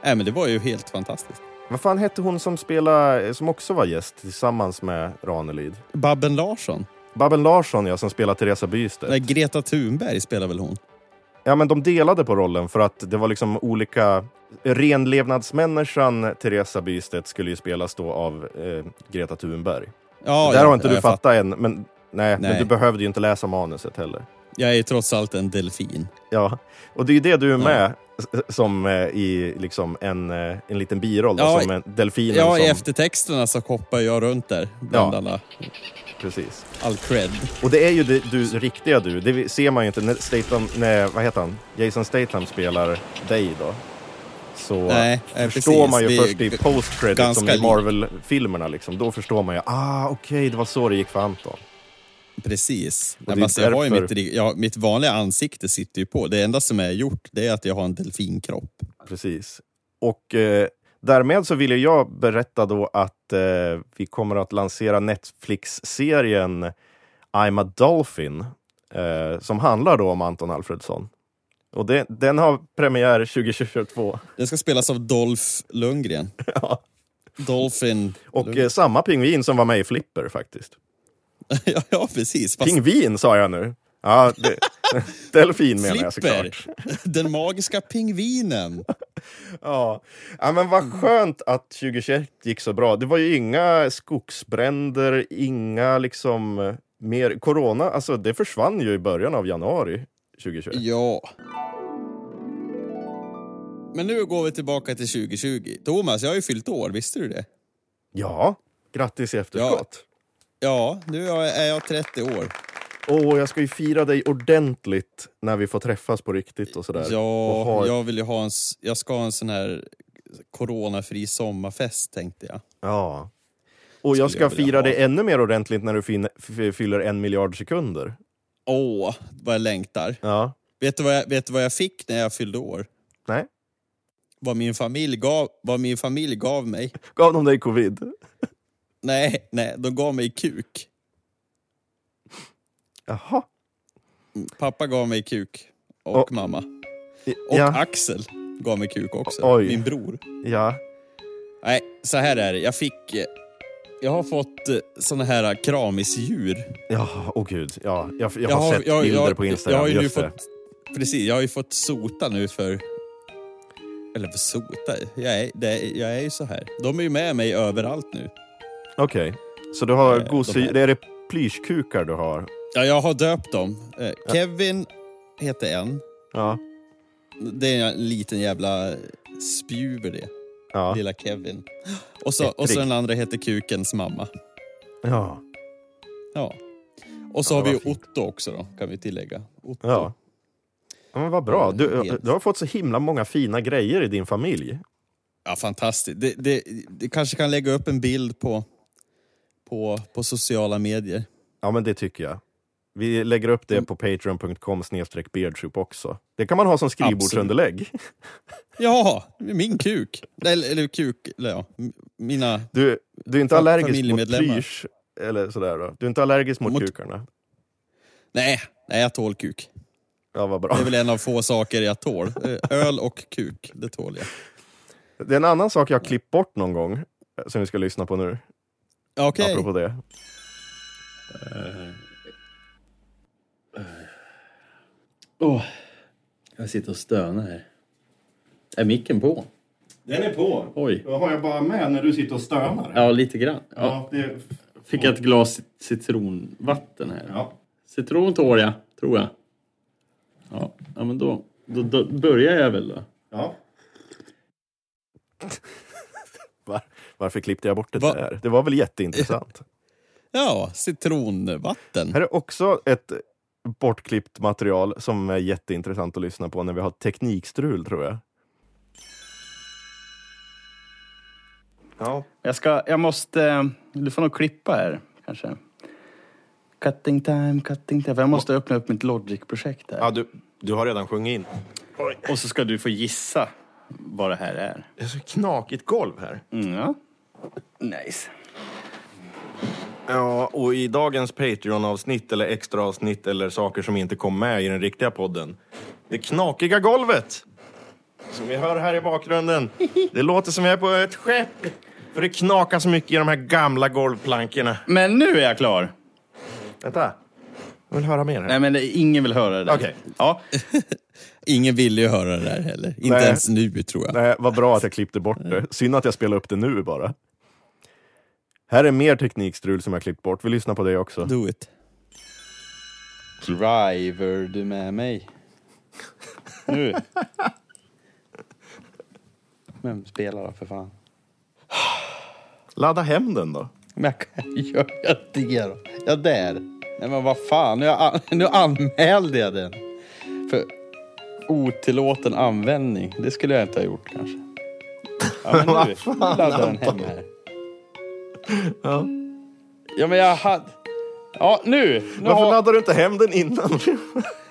Speaker 1: Nej, men det var ju helt fantastiskt.
Speaker 2: Vad fan hette hon som spelade, eh, som också var gäst tillsammans med Ranelid?
Speaker 1: Babben Larsson?
Speaker 2: Babben Larsson ja, som spelar Teresa Bystedt.
Speaker 1: Nej, Greta Thunberg spelar väl hon?
Speaker 2: Ja, men de delade på rollen för att det var liksom olika... Renlevnadsmänniskan Teresa Bystedt skulle ju spelas då av eh, Greta Thunberg.
Speaker 1: Ja,
Speaker 2: Där
Speaker 1: ja,
Speaker 2: har inte
Speaker 1: ja,
Speaker 2: du
Speaker 1: jag fatt-
Speaker 2: fattat än, men, nej, men
Speaker 1: Nej.
Speaker 2: du behövde ju inte läsa manuset heller.
Speaker 1: Jag är ju trots allt en delfin.
Speaker 2: Ja, och det är ju det du är med s- som eh, i liksom en, eh, en liten biroll, då,
Speaker 1: Ja,
Speaker 2: som en delfinen
Speaker 1: Ja, i
Speaker 2: som...
Speaker 1: eftertexterna så hoppar jag runt där bland
Speaker 2: Ja.
Speaker 1: alla,
Speaker 2: Precis.
Speaker 1: all cred.
Speaker 2: Och det är ju det, du, riktiga du, det ser man ju inte när Statham, nej, vad heter han? Jason Statham spelar dig då. Så
Speaker 1: Nej, nej,
Speaker 2: förstår
Speaker 1: precis.
Speaker 2: man ju
Speaker 1: Det är
Speaker 2: först i
Speaker 1: g-
Speaker 2: post credit
Speaker 1: ganska
Speaker 2: som i
Speaker 1: likt.
Speaker 2: Marvel-filmerna liksom. Då förstår man ju, ah okej, det var så det gick för Anton.
Speaker 1: Precis.
Speaker 2: det
Speaker 1: Nej,
Speaker 2: är
Speaker 1: men alltså, jag har ju
Speaker 2: därför-
Speaker 1: mitt, ri- ja, mitt vanliga ansikte sitter ju på. Det enda som är gjort det är att jag har en delfinkropp.
Speaker 2: Precis. Och eh, därmed så ville jag berätta då att eh, vi kommer att lansera Netflix-serien I'm a Dolphin, eh, som handlar då om Anton Alfredsson. Och det, den har premiär 2022.
Speaker 1: Den ska spelas av Dolph Lundgren.
Speaker 2: Ja.
Speaker 1: Dolphin...
Speaker 2: Och eh, samma pingvin som var med i Flipper faktiskt.
Speaker 1: ja, ja, precis. Fast
Speaker 2: Pingvin sa jag nu. Ja, det, delfin menar jag såklart.
Speaker 1: Flipper. Den magiska pingvinen.
Speaker 2: Ja. ja, men vad
Speaker 1: Mm.
Speaker 2: skönt att 2021 gick så bra. Det var ju inga skogsbränder, inga liksom eh, mer corona. Alltså det försvann ju i början av januari 2021.
Speaker 1: Ja. Men nu går vi tillbaka till 2020. Thomas, jag har ju fyllt år. Visste du det?
Speaker 2: Ja, grattis i efterskott.
Speaker 1: Ja, nu är jag- är jag 30 år.
Speaker 2: Åh, jag ska ju fira dig ordentligt när vi får träffas på riktigt och sådär.
Speaker 1: Ja,
Speaker 2: och ha ett-
Speaker 1: jag vill ju ha en... s- Jag ska ha en sån här coronafri sommarfest, tänkte jag.
Speaker 2: ja. Och jag
Speaker 1: Skulle
Speaker 2: ska
Speaker 1: jag vilja
Speaker 2: fira
Speaker 1: ha.
Speaker 2: dig ännu mer ordentligt när du fin- f- fyller en miljard sekunder.
Speaker 1: Åh, vad jag längtar.
Speaker 2: Ja.
Speaker 1: Vet du, vad jag, vet du vad jag fick när jag fyllde år?
Speaker 2: Nej.
Speaker 1: Vad min familj gav, vad min familj gav mig?
Speaker 2: Gav de dig covid?
Speaker 1: Nej, nej, de gav mig kuk.
Speaker 2: Jaha.
Speaker 1: Pappa gav mig kuk. Och
Speaker 2: Och-
Speaker 1: mamma.
Speaker 2: I-
Speaker 1: Och
Speaker 2: Ja.
Speaker 1: Axel gav mig kuk också.
Speaker 2: O- oj.
Speaker 1: Min bror.
Speaker 2: ja.
Speaker 1: Nej, så här är det. Jag fick... eh, Jag har fått eh, såna här kramisdjur.
Speaker 2: Ja, åh gud. Ja, jag, jag, har sett
Speaker 1: jag-
Speaker 2: bilder
Speaker 1: jag-
Speaker 2: på Instagram.
Speaker 1: Jag har ju nu
Speaker 2: just det.
Speaker 1: fått, precis, jag har ju fått sota nu för... Eller för sota? Jag är, det, jag är ju så här. De är ju med mig överallt nu.
Speaker 2: Okej. Så du har
Speaker 1: Eh,
Speaker 2: gosedjur...
Speaker 1: de
Speaker 2: Det är det plyschkukar du har?
Speaker 1: Ja, jag har döpt dem. Eh, Kevin heter en.
Speaker 2: Ja.
Speaker 1: Det är en liten jävla spjuver det.
Speaker 2: Ja.
Speaker 1: Lilla Kevin. Och så, och så den andra heter Kukens mamma.
Speaker 2: ja.
Speaker 1: Ja. Och så
Speaker 2: Ja,
Speaker 1: har vi
Speaker 2: vad
Speaker 1: ju
Speaker 2: fint.
Speaker 1: Otto också då, kan vi tillägga. Otto.
Speaker 2: ja. Ja, Men vad bra. Du,
Speaker 1: Helt.
Speaker 2: du har fått så himla många fina grejer i din familj.
Speaker 1: Ja, fantastiskt. Det, det, det kanske kan lägga upp en bild på, på, på sociala medier.
Speaker 2: Ja, men det tycker jag. Vi lägger upp
Speaker 1: Mm.
Speaker 2: det på patreon.com snedstreck beardsoup också. Det kan man ha som skrivbordsunderlägg.
Speaker 1: Ja, min kuk. Eller, eller kuk, eller ja. m- Mina...
Speaker 2: Du, du är inte
Speaker 1: Fa-
Speaker 2: allergisk mot
Speaker 1: familjemedlemmar.
Speaker 2: plysch? Eller sådär då. Du är inte allergisk mot,
Speaker 1: Mot-
Speaker 2: kukarna?
Speaker 1: Nej, nej, jag tål kuk.
Speaker 2: Ja, vad bra.
Speaker 1: Det är väl en av få saker jag tål. Eh, Öl och kuk, det tål jag.
Speaker 2: Det är en annan sak jag har klippt bort någon gång, eh, som vi ska lyssna på nu.
Speaker 1: Okej.
Speaker 2: Apropå det.
Speaker 4: Åh, jag sitter och stönar här. Är micken på?
Speaker 7: Den är på.
Speaker 4: Oj.
Speaker 7: Då har jag bara med när du sitter och stönar.
Speaker 4: Ja, lite grann.
Speaker 7: Ja,
Speaker 4: Ja.
Speaker 7: det,
Speaker 4: Fick jag ett glas cit- citronvatten här.
Speaker 7: ja.
Speaker 4: Citron tål jag, tror jag. Ja, ja men då, då, då börjar jag väl då.
Speaker 7: ja.
Speaker 2: Var, varför klippte jag bort det
Speaker 1: Va?
Speaker 2: där? Det var väl jätteintressant.
Speaker 1: Ja, citronvatten.
Speaker 2: Här är också ett bortklippt material som är jätteintressant att lyssna på när vi har teknikstrul, tror jag.
Speaker 8: Ja.
Speaker 4: Jag ska, jag måste, du får nog klippa här kanske. Cutting time, cutting time. För jag måste öppna upp mitt Logic-projekt här.
Speaker 2: du, du har redan sjungit in.
Speaker 4: Och så ska du få gissa vad det här är.
Speaker 2: Det är så knakigt golv här.
Speaker 4: Mm, ja. Nice.
Speaker 2: Ja, och i dagens Patreon-avsnitt eller extra avsnitt eller saker som inte kom med i den riktiga podden. Det knakiga golvet! Som vi hör här i bakgrunden. Det låter som vi är på ett skepp. För det knakar så mycket i de här gamla golvplankorna.
Speaker 4: Men nu är jag klar.
Speaker 2: Vänta. Jag vill höra mer här.
Speaker 4: Nej men det, ingen vill höra det där.
Speaker 2: Okej.
Speaker 4: Ja,
Speaker 1: Ingen ville ju höra det där heller. Inte
Speaker 2: Nej.
Speaker 1: ens nu, tror jag.
Speaker 2: Nej, vad bra att jag klippte bort det. Synd att jag spelade upp det nu bara. Här är mer teknikstrul som jag klippt bort. Vi lyssnar på det också.
Speaker 1: Do it.
Speaker 4: driver du med mig? Nu. Men spela då för fan.
Speaker 2: Ladda hem den då.
Speaker 4: Men jag kan ju göra det då. Ja, där. Nej men vad fan, nu, har jag, an- nu anmälde jag den. För otillåten användning. Det skulle jag inte ha gjort kanske. Ja men nu, nu laddar den hem här.
Speaker 2: Ja.
Speaker 4: Ja men jag hade... Ja nu! nu
Speaker 2: Varför
Speaker 4: har...
Speaker 2: laddar du inte hem den innan?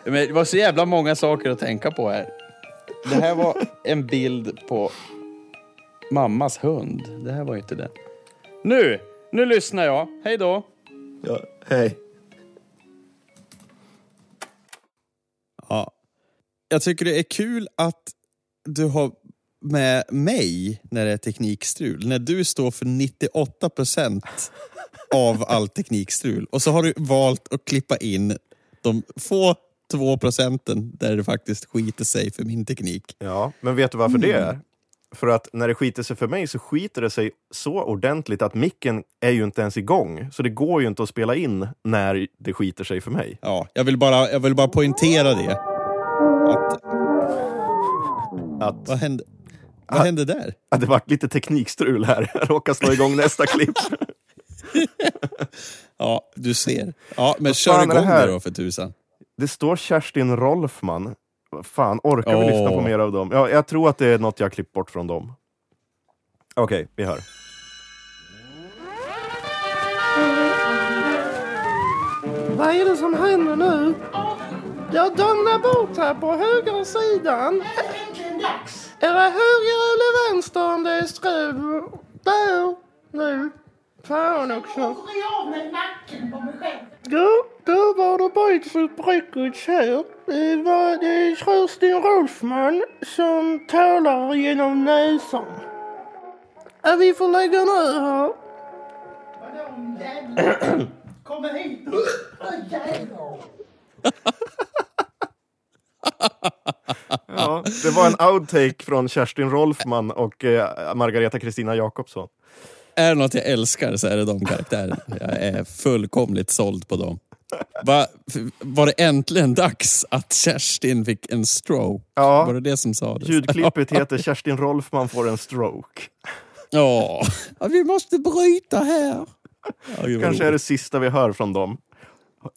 Speaker 4: Men det var så jävla många saker att tänka på här. Det här var en bild på mammas hund. Det här var ju inte den. Nu! Nu lyssnar jag. Hej då!
Speaker 2: ja, hej.
Speaker 1: Ja. Jag tycker det är kul att du har med mig när det är teknikstrul. När du står för 98 procent av all teknikstrul. Och så har du valt att klippa in de få två procenten där det faktiskt skiter sig för min teknik.
Speaker 2: Ja, men vet du varför det
Speaker 1: Mm.
Speaker 2: är? För att när det skiter sig för mig så skiter det sig så ordentligt att micken är ju inte ens igång. Så det går ju inte att spela in när det skiter sig för mig.
Speaker 1: Ja, jag vill bara, jag vill bara poängtera det. Att,
Speaker 2: Att,
Speaker 1: vad hände, vad hände där?
Speaker 2: att det vart lite teknikstrul här. Jag råkar slå igång nästa klipp.
Speaker 1: Ja, du ser. Ja, men
Speaker 2: fan
Speaker 1: kör
Speaker 2: är det
Speaker 1: igång
Speaker 2: här?
Speaker 1: det då för tusan.
Speaker 2: Det står Kerstin Rolfman. Vad Fan, orkar vi
Speaker 1: Åh.
Speaker 2: lyssna på mer av dem? Ja, jag tror att det är något jag har klippt bort från dem. Okej, vi hör.
Speaker 6: Vad är det som händer nu? Jag dundrar bort här på högersidan. Är det höger eller vänster om det är strul? Där, nu. Fan också. Ja, då var det Beethoven-bräcket här. Det var det är Kerstin Rolfman som talar genom näsan. Ja, vi får lägga ner här.
Speaker 2: Ja, det var en outtake från Kerstin Rolfman och eh, Margareta Kristina Jakobsson.
Speaker 1: Är det något jag älskar så är det de karaktärerna. Jag är fullkomligt såld på dem. Va, f- var det äntligen dags att Kerstin fick en stroke?
Speaker 2: Ja.
Speaker 1: Var det det som sades?
Speaker 2: Ljudklippet heter Kerstin Rolfman får en stroke.
Speaker 1: Ja. Ja, vi måste bryta här. Ja, gud, vad
Speaker 2: Kanske är
Speaker 1: roligt.
Speaker 2: det sista vi hör från dem.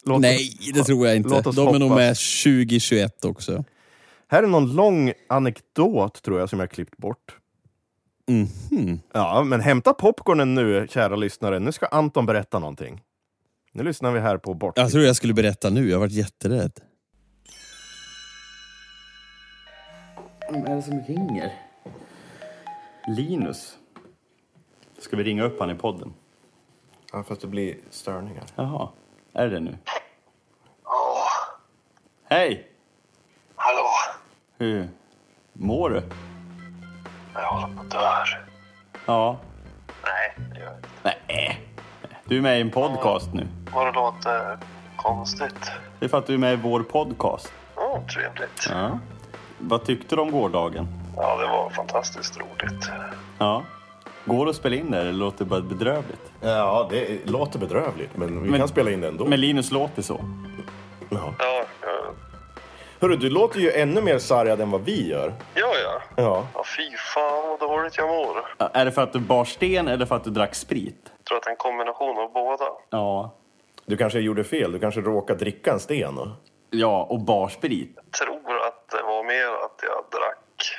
Speaker 2: Låt
Speaker 1: Nej, det tror jag inte.
Speaker 2: Låt oss
Speaker 1: De är nog
Speaker 2: hoppas.
Speaker 1: med 2021 också.
Speaker 2: Här är någon lång anekdot tror jag som jag klippt bort.
Speaker 4: Mhm.
Speaker 2: Ja, men hämta popcornen nu, kära lyssnare. Nu ska Anton berätta någonting. Nu lyssnar vi här på bort.
Speaker 1: Jag tror jag skulle berätta nu. Jag har varit jätterädd.
Speaker 4: Vem är det som ringer?
Speaker 7: Linus. Ska vi ringa upp han i podden?
Speaker 2: Ja, fast det blir störningar.
Speaker 7: Jaha, är det nu? Ja. Hej!
Speaker 9: Hallå,
Speaker 7: Hur mår du?
Speaker 9: jag håller på att dö.
Speaker 7: Ja.
Speaker 9: Nej, det gör jag inte.
Speaker 7: Nej. Du är med i en podcast nu.
Speaker 9: Vad det låter eh, konstigt.
Speaker 7: Det är för att du är med i vår podcast.
Speaker 9: Mm. Fan, trevligt.
Speaker 4: Ja. Vad tyckte du om gårdagen?
Speaker 9: Ja, det var fantastiskt roligt.
Speaker 4: Ja. Går det att spela in det här, eller låter det bara bedrövligt?
Speaker 2: Ja, det låter bedrövligt, men vi
Speaker 4: Men-
Speaker 2: kan spela in det ändå.
Speaker 4: Men Linus låter så.
Speaker 2: Ja.
Speaker 9: Ja, ja,
Speaker 2: Hörru, du låter ju ännu mer sargad än vad vi gör.
Speaker 9: ja. ja.
Speaker 2: Ja.
Speaker 9: Ja, fy fan vad dåligt jag mår.
Speaker 4: Ja, Är det för att du bar sten eller för att du drack sprit?
Speaker 9: Jag tror att det är en kombination av båda.
Speaker 4: Ja.
Speaker 2: Du kanske gjorde fel, du kanske råkade dricka en sten. Och...
Speaker 4: Ja, och bar sprit.
Speaker 9: Jag tror att det var mer att jag drack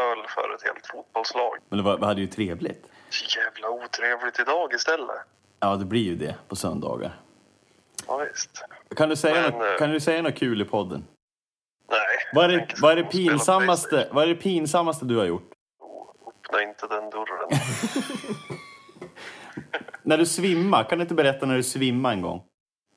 Speaker 9: öl för ett helt fotbollslag.
Speaker 4: Men det var, vi hade ju trevligt.
Speaker 9: Så jävla otrevligt idag istället.
Speaker 4: Ja, det blir ju det på söndagar.
Speaker 9: Ja, visst.
Speaker 4: Kan du säga,
Speaker 9: Men,
Speaker 4: något,
Speaker 9: eh,
Speaker 4: kan du säga något kul i podden?
Speaker 9: Nej.
Speaker 4: Vad är
Speaker 9: jag
Speaker 4: det,
Speaker 9: tänker
Speaker 4: vad är det,
Speaker 9: spela PlayStation.
Speaker 4: pinsammaste, vad är det pinsammaste du har gjort?
Speaker 9: Öppna inte den dörren.
Speaker 4: När du svimmar, kan du inte berätta när du svimmar en gång?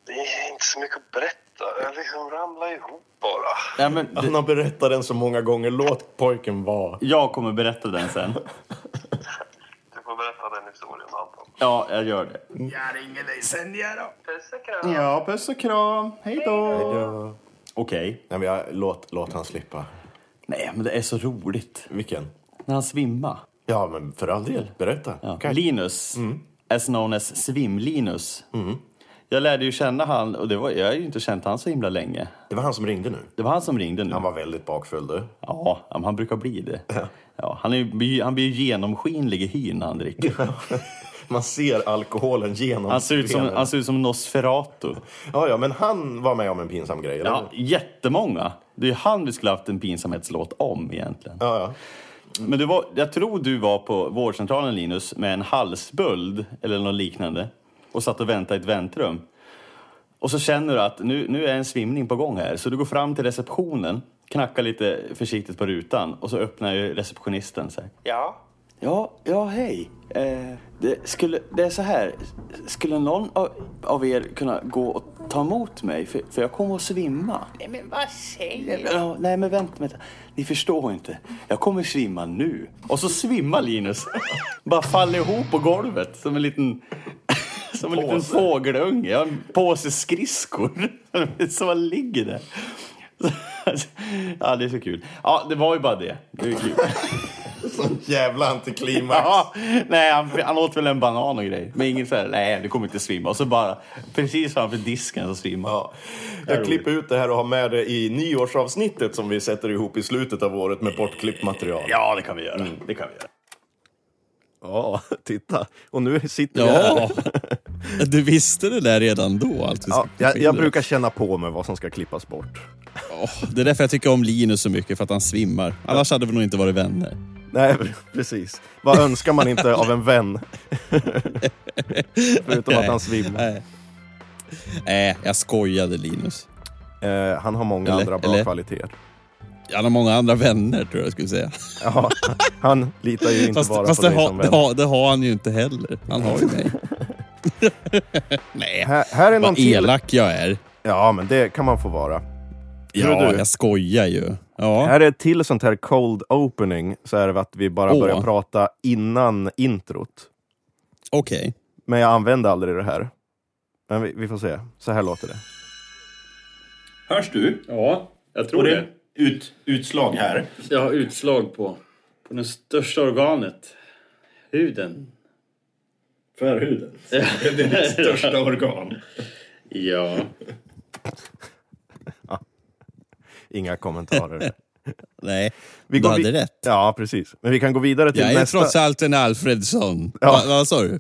Speaker 9: Det är inte så mycket att berätta. Jag liksom ramlar ihop bara.
Speaker 4: Ja, men, det,
Speaker 2: Han har berättat den så många gånger, låt pojken vara.
Speaker 4: jag kommer berätta den sen.
Speaker 9: Du får berätta den historien, Anton.
Speaker 4: Ja, jag gör det.
Speaker 9: Puss och kram.
Speaker 4: Ja, puss och kram. Hej då!
Speaker 2: Ja.
Speaker 4: Okej.
Speaker 2: Nej, men jag, låt, låt han slippa.
Speaker 4: Nej, men det är så roligt.
Speaker 2: Vilken?
Speaker 4: När han svimmar.
Speaker 2: Ja, men för all del, berätta.
Speaker 4: Ja.
Speaker 2: Kan-
Speaker 4: Linus, as known as Svim-Linus. Jag lärde ju känna han, och det var, jag har ju inte känt han så himla länge.
Speaker 2: Det var han som ringde nu.
Speaker 4: Det var han som ringde nu.
Speaker 2: Han var väldigt bakfull du.
Speaker 4: Ja, ja, men han brukar bli det. Ja, han, är, ju- blir- han blir ju genomskinlig i hyn när han dricker.
Speaker 2: Man ser alkoholen genom
Speaker 4: Han ser ut som,
Speaker 2: benen.
Speaker 4: han ser ut som Nosferatu.
Speaker 2: Ja, ja, men han var med om en pinsam grej, eller?
Speaker 4: Ja, jättemånga. Det är ju han vi skulle haft en pinsamhetslåt om egentligen.
Speaker 2: ja, ja.
Speaker 4: Men du var, jag tror du var på vårdcentralen Linus med en halsböld eller något liknande och satt och väntade i ett väntrum. Och så känner du att nu, nu är en svimning på gång här så du går fram till receptionen, knackar lite försiktigt på rutan och så öppnar ju receptionisten så här.
Speaker 9: Ja.
Speaker 4: Ja, ja hej. Eh, det, skulle, det är så här. Skulle någon av, av er kunna gå och ta emot mig? För, för jag kommer att svimma. Nej, men vad säger du? Nej, men vänta, vänta. Ni förstår inte. Jag kommer svimma nu. Och så svimmar Linus. Bara faller ihop på golvet som en liten... Som en liten fågelunge. Jag har en påse skridskor som bara ligger där. Ja, det är så kul. Ja, det var ju bara det. Det är kul.
Speaker 2: Jävla antiklimax.
Speaker 4: Ja, nej, han, han åt väl en banan och grej. Men ingen så här, nej, du kommer inte svimma. Och så bara precis framför disken så svimmar han.
Speaker 2: Ja. Jag klipper ut det här och har med det i nyårsavsnittet som vi sätter ihop i slutet av året med bortklippt material.
Speaker 4: Ja, det kan vi göra. Det kan vi göra.
Speaker 2: Ja, titta. Och nu sitter vi här.
Speaker 1: Ja, du visste det där redan då. Allt vi
Speaker 2: Ja,
Speaker 1: skulle
Speaker 2: jag,
Speaker 1: skildra.
Speaker 2: jag brukar känna på mig vad som ska klippas bort.
Speaker 1: Åh, det är därför jag tycker om Linus så mycket, för att han svimmar. Annars hade vi nog inte varit vänner.
Speaker 2: Nej, precis. Vad önskar man inte av en vän? Förutom att
Speaker 1: Nej.
Speaker 2: han svimmar.
Speaker 1: Nej. Nej, Äh, jag skojade Linus.
Speaker 2: Eh, han har många
Speaker 1: Eller-
Speaker 2: andra bra
Speaker 1: eller-
Speaker 2: kvaliteter.
Speaker 1: Han har många andra vänner tror jag jag skulle säga.
Speaker 2: Ja, han litar ju inte
Speaker 1: Fast,
Speaker 2: bara
Speaker 1: fast
Speaker 2: på
Speaker 1: det,
Speaker 2: dig som
Speaker 1: har, det,
Speaker 2: vän.
Speaker 1: har, det har han ju inte heller. Han har ju mig. Nej,
Speaker 2: Här, här är någon
Speaker 1: vad
Speaker 2: till.
Speaker 1: elak jag är.
Speaker 2: Ja, men det kan man få vara. Hörru
Speaker 1: Ja,
Speaker 2: du.
Speaker 1: jag skojar ju. Ja.
Speaker 2: Här är ett till sånt här cold opening, så är det att vi bara
Speaker 1: Åh.
Speaker 2: börjar prata innan introt.
Speaker 1: Okej.
Speaker 2: Men jag använde aldrig det här. Men vi, vi får se. Så här låter det.
Speaker 4: Hörs du? Ja, jag tror det.
Speaker 5: Ut, utslag här.
Speaker 4: Jag har utslag på, på det största organet. Huden.
Speaker 5: För huden. Det är ditt största organ.
Speaker 4: Ja.
Speaker 2: Inga kommentarer.
Speaker 1: Nej,
Speaker 2: Vi
Speaker 1: du
Speaker 2: går
Speaker 1: hade
Speaker 2: vi-
Speaker 1: rätt.
Speaker 2: Ja, precis. Men vi kan gå vidare till
Speaker 1: Jag är
Speaker 2: nästa.
Speaker 1: trots allt en Alfredsson.
Speaker 2: Ja.
Speaker 1: Va- Vad sa du?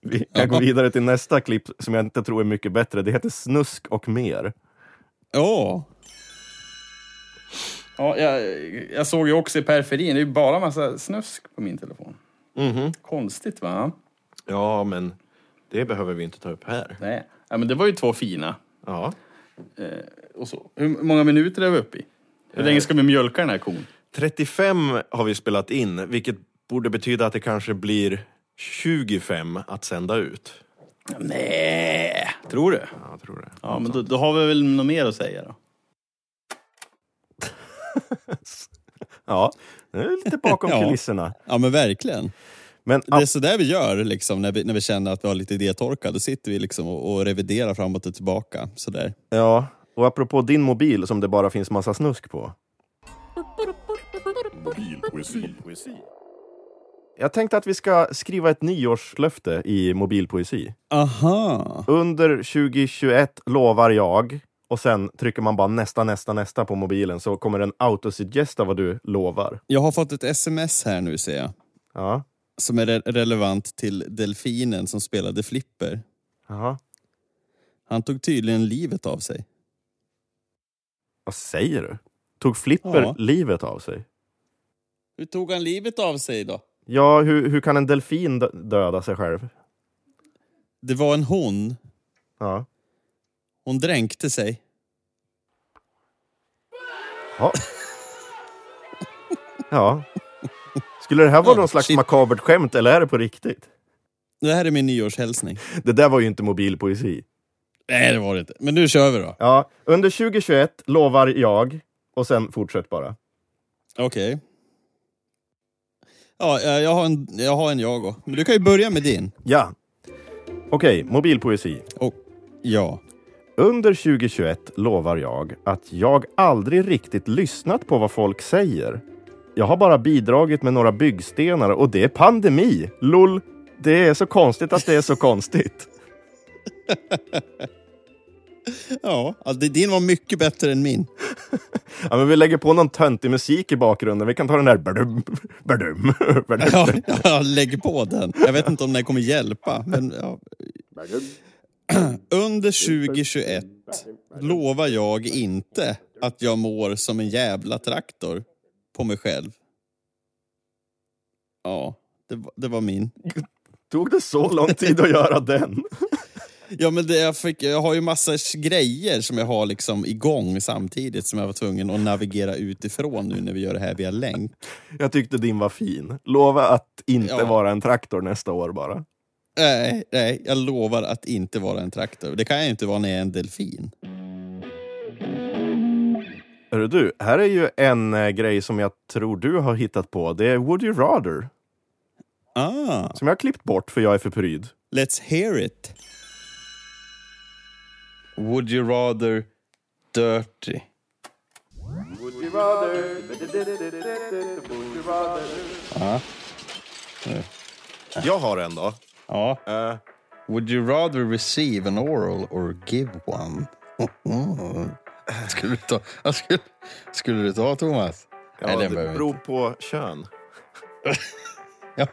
Speaker 2: Vi kan gå vidare till nästa klipp som jag inte tror är mycket bättre. Det heter Snusk och mer.
Speaker 1: Åh.
Speaker 10: Ja, jag, jag såg ju också i periferin, det är ju bara massa snusk på min telefon.
Speaker 5: Mhm.
Speaker 10: Konstigt va?
Speaker 2: Ja, men det behöver vi inte ta upp här.
Speaker 10: Nej. Ja, men det var ju två fina.
Speaker 2: Ja.
Speaker 10: Och så. Hur många minuter är vi uppe i? Hur länge ska vi mjölka den här kon?
Speaker 2: 35 har vi spelat in, vilket borde betyda att det kanske blir 25 att sända ut.
Speaker 10: Nej, tror du?
Speaker 2: Ja, jag tror det.
Speaker 10: Ja, men då, då har vi väl något mer att säga då.
Speaker 2: Ja, det är lite bakom
Speaker 1: Ja.
Speaker 2: kulisserna.
Speaker 1: Ja men verkligen.
Speaker 2: Men
Speaker 1: Det är sådär vi gör liksom, när, vi, när vi känner att vi har lite idétorka. Då sitter vi liksom och, och reviderar framåt och tillbaka. Sådär.
Speaker 2: Ja, Och apropå din mobil som det bara finns massa snusk på.
Speaker 11: Mobilpoesi.
Speaker 2: Jag tänkte att vi ska skriva ett nyårslöfte i mobilpoesi.
Speaker 1: Aha.
Speaker 2: Under 2021 lovar jag och sen trycker man bara nästa, nästa, nästa på mobilen så kommer den autosuggesta vad du lovar.
Speaker 1: Jag har fått ett sms här nu ser jag.
Speaker 2: Ja.
Speaker 1: Som är re- relevant till delfinen som spelade flipper.
Speaker 2: Jaha.
Speaker 1: Han tog tydligen livet av sig.
Speaker 2: Vad säger du? Tog Flipper
Speaker 1: Ja.
Speaker 2: livet av sig?
Speaker 1: Hur tog han livet av sig då?
Speaker 2: Ja, hur, hur kan en delfin dö- döda sig själv?
Speaker 1: Det var en hon.
Speaker 2: Ja.
Speaker 1: Hon dränkte sig.
Speaker 2: Ja. ja. Skulle det här vara
Speaker 1: Ja,
Speaker 2: någon slags
Speaker 1: shit.
Speaker 2: makabert skämt eller är det på riktigt?
Speaker 1: Det här är min nyårshälsning.
Speaker 2: Det där var ju inte mobilpoesi.
Speaker 1: Nej, det var det inte. Men nu kör vi då.
Speaker 2: Ja, under 2021 lovar jag och sen fortsätt bara.
Speaker 1: Okej. Ja, eh, jag har en jag, har en jag också. Men du kan ju börja med din.
Speaker 2: Ja. Okej, mobilpoesi.
Speaker 1: Och, ja.
Speaker 2: Under 2021 lovar jag att jag aldrig riktigt lyssnat på vad folk säger. Jag har bara bidragit med några byggstenar och det är pandemi. Lull. Det är så konstigt att det är så konstigt.
Speaker 1: Ja, ja, det- din var mycket bättre än min.
Speaker 2: Ja, men vi lägger på någon töntig musik i bakgrunden. Vi kan ta den där... Badum, badum, badum.
Speaker 1: Ja, ja, lägg på den. Jag vet inte om den kommer hjälpa. Men, ja. Under 2021 lovar jag inte att jag mår som en jävla traktor på mig själv. Ja, det, var- det var min.
Speaker 2: Tog det så lång tid att göra den?
Speaker 1: Ja, men det jag, fick, jag har ju massa s- grejer som jag har liksom igång samtidigt som jag var tvungen att navigera utifrån nu när vi gör det här via länk.
Speaker 2: Jag tyckte din var fin. Lova att inte
Speaker 1: Ja.
Speaker 2: vara en traktor nästa år bara.
Speaker 1: Nej, nej, jag lovar att inte vara en traktor. Det kan jag ju inte vara när jag är en delfin.
Speaker 2: Hörru du, här är ju en eh, grej som jag tror du har hittat på. Det är Would you rather?
Speaker 1: Ah.
Speaker 2: Som jag har klippt bort för jag är för pryd.
Speaker 1: Let's hear it. Would you rather dirty?
Speaker 2: Jag har en då.
Speaker 10: Ja.
Speaker 2: Eh,
Speaker 10: Would you rather receive an oral or give one? skulle, du ta, Ja, skulle, skulle du ta Thomas?
Speaker 2: ja,
Speaker 10: Nej, den
Speaker 2: det
Speaker 10: behöver vi
Speaker 2: beror på kön.
Speaker 10: Ja.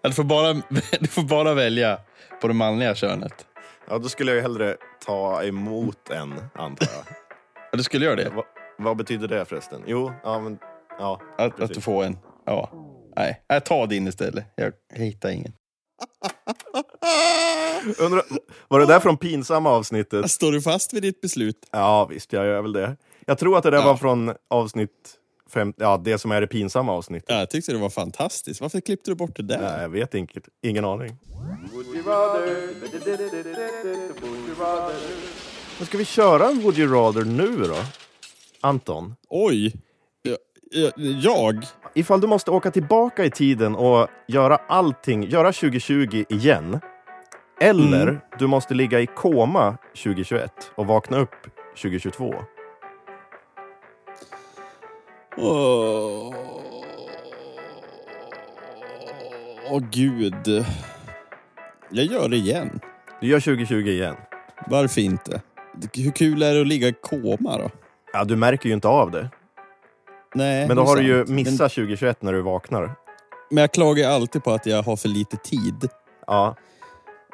Speaker 10: Ja, Du, får bara, du får bara välja på det manliga könet.
Speaker 2: Ja, då skulle jag ju hellre ta emot en, antar jag.
Speaker 10: Ja, du skulle göra det?
Speaker 2: Va, vad betyder det förresten? Jo, ja men... Ja,
Speaker 10: Att, att
Speaker 2: precis.
Speaker 10: du får en? Ja. Nej, jag tar din istället. Jag hittar ingen.
Speaker 2: Undrar, var det där från pinsamma avsnittet?
Speaker 1: Står du fast vid ditt beslut?
Speaker 2: Ja, visst, jag gör väl det. Jag tror att det där var från avsnitt fem, ja, det som är det pinsamma avsnittet.
Speaker 1: Ja, jag tyckte det var fantastiskt. Varför klippte du bort det där?
Speaker 2: Nej, jag vet inte, ingen aning. Men ska vi köra en Would you rather nu då? Anton,
Speaker 1: Oj! Ja, ja, Jag?
Speaker 2: ifall du måste åka tillbaka i tiden och göra allting, göra 2020 igen. Eller du måste ligga i koma 2021 och vakna upp 2022.
Speaker 1: Åh, Åh, gud. Jag gör det igen.
Speaker 2: Du gör 2020 igen.
Speaker 1: Varför inte? Hur kul är det att ligga i koma då?
Speaker 2: Ja, du märker ju inte av det.
Speaker 1: Nej,
Speaker 2: Men då
Speaker 1: det är
Speaker 2: har du ju
Speaker 1: sant.
Speaker 2: missat
Speaker 1: Men,
Speaker 2: 2021 när du vaknar.
Speaker 1: men jag klagar alltid på att jag har för lite tid.
Speaker 2: Ja,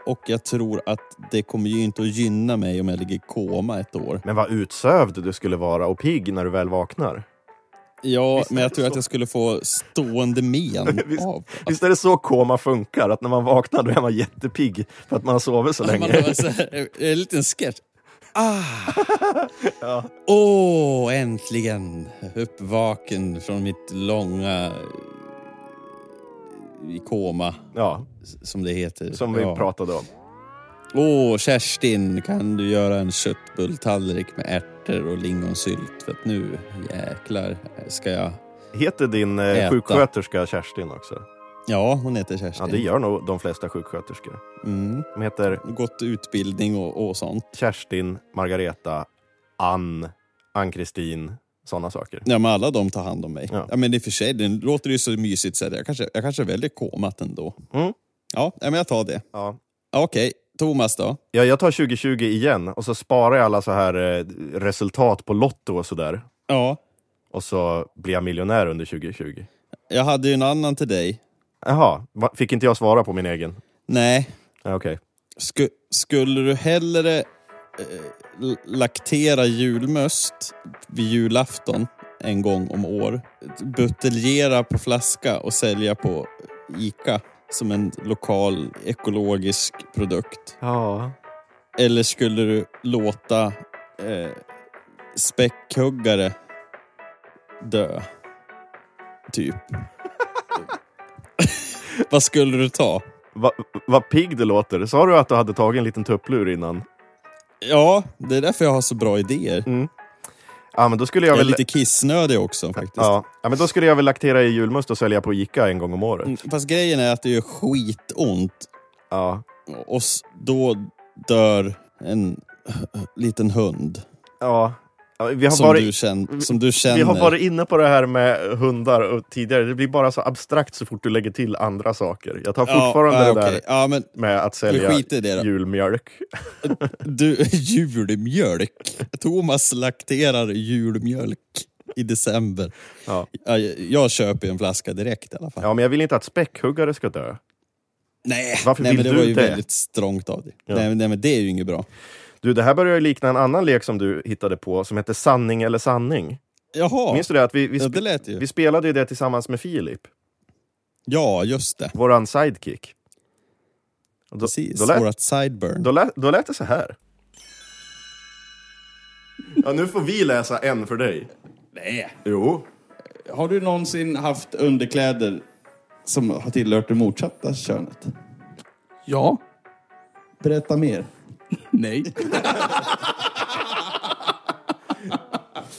Speaker 1: Och jag tror att det kommer ju inte att gynna mig om jag ligger i koma ett år.
Speaker 2: men vad utsövd du skulle vara och pigg när du väl vaknar.
Speaker 1: Ja,
Speaker 2: Visst är
Speaker 1: men jag
Speaker 2: det
Speaker 1: tror att
Speaker 2: så?
Speaker 1: jag skulle få stående men
Speaker 2: Visst-
Speaker 1: av
Speaker 2: Visst är det så koma funkar? Att när man vaknar då är man jättepigg för att man har sovit så
Speaker 1: att man
Speaker 2: länge.
Speaker 1: har så här, en liten sketch. Ah! Åh, äntligen uppvaken från mitt långa eh, i koma,
Speaker 2: Ja,
Speaker 1: som det heter.
Speaker 2: som vi
Speaker 1: Ja.
Speaker 2: pratade om.
Speaker 1: Åh, Kerstin, kan du göra en köttbulltallrik med ärtor och lingonsylt? För att nu jäklar ska jag...
Speaker 2: Heter din eh,
Speaker 1: Äta.
Speaker 2: sjuksköterska Kerstin också?
Speaker 1: Ja, hon heter
Speaker 2: Ja,
Speaker 1: Kerstin.
Speaker 2: det gör nog de flesta sjuksköterskor.
Speaker 1: mm.
Speaker 2: De heter
Speaker 1: Gått utbildning och, och sånt.
Speaker 2: Kerstin Margareta Ann, Ann-Kristin, sådana saker.
Speaker 1: Ja, men alla de tar hand om mig.
Speaker 2: Ja.
Speaker 1: Ja. men i och för sig, den låter ju så mysigt så att jag kanske, jag kanske väljer komat ändå. Ja, ja, men jag tar det.
Speaker 2: Ja.
Speaker 1: Okej, Thomas då?
Speaker 2: Ja, jag tar 2020 igen och så sparar jag alla så här eh, resultat på Lotto och sådär.
Speaker 1: Ja.
Speaker 2: Och så blir jag miljonär under 2020.
Speaker 1: Jag hade ju en annan till dig.
Speaker 2: Jaha, va- fick inte jag svara på min egen?
Speaker 1: Nej.
Speaker 2: Ja, Okej.
Speaker 1: Sku- skulle du hellre eh, l- laktera julmöst vid julafton en gång om år, buteljera på flaska och sälja på Ica som en lokal ekologisk produkt?
Speaker 2: Ja.
Speaker 1: Eller skulle du låta eh, späckhuggare dö? Typ. Vad skulle du ta?
Speaker 2: Va- Vad pigg det låter. Sa du att du hade tagit en liten tupplur innan?
Speaker 1: Ja, det är därför jag har så bra idéer.
Speaker 2: Mm. Ja, men då skulle jag
Speaker 1: Jag är
Speaker 2: väl...
Speaker 1: lite kissnödig också faktiskt.
Speaker 2: Ja. ja, men då skulle jag väl laktera i julmust och sälja på Ica en gång om året.
Speaker 1: Mm, Fast grejen är att det gör skitont
Speaker 2: Ja.
Speaker 1: och s- då dör en liten hund
Speaker 2: Ja. ja vi, har
Speaker 1: som,
Speaker 2: varit,
Speaker 1: du känn, som du känner.
Speaker 2: vi har varit inne på det här med hundar och tidigare. Det blir bara så abstrakt så fort du lägger till andra saker. Jag tar fortfarande
Speaker 1: ja,
Speaker 2: det
Speaker 1: ja, okej.
Speaker 2: där
Speaker 1: Ja, men
Speaker 2: med att sälja
Speaker 1: Vi skiter i det då.
Speaker 2: julmjölk.
Speaker 1: du, julmjölk. Thomas lakterar julmjölk i december.
Speaker 2: Ja.
Speaker 1: Ja, Jag, jag köper ju en flaska direkt i alla fall.
Speaker 2: Ja, men jag vill inte att späckhuggare ska dö.
Speaker 1: Nej,
Speaker 2: Varför
Speaker 1: nej men
Speaker 2: vill
Speaker 1: det
Speaker 2: du
Speaker 1: var ju
Speaker 2: det?
Speaker 1: väldigt strångt av dig.
Speaker 2: Ja.
Speaker 1: Nej, men- nej, men det är ju inget bra.
Speaker 2: Du, det här börjar ju likna en annan lek som du hittade på som heter Sanning eller sanning.
Speaker 1: Jaha,
Speaker 2: Minns du det? Att vi, vi,
Speaker 1: ja,
Speaker 2: sp-
Speaker 1: det lät ju.
Speaker 2: vi spelade ju det tillsammans med Filip,
Speaker 1: Ja, just det.
Speaker 2: våran sidekick. Och Då,
Speaker 1: Precis,
Speaker 2: Då lät,
Speaker 1: vårat sideburn.
Speaker 2: då, lät, då lät det så här. Ja, nu får vi läsa en för dig.
Speaker 10: Nej.
Speaker 2: Jo.
Speaker 10: Har du någonsin haft underkläder som har tillhört det motsatta könet?
Speaker 12: Ja.
Speaker 10: Berätta mer.
Speaker 12: Nej.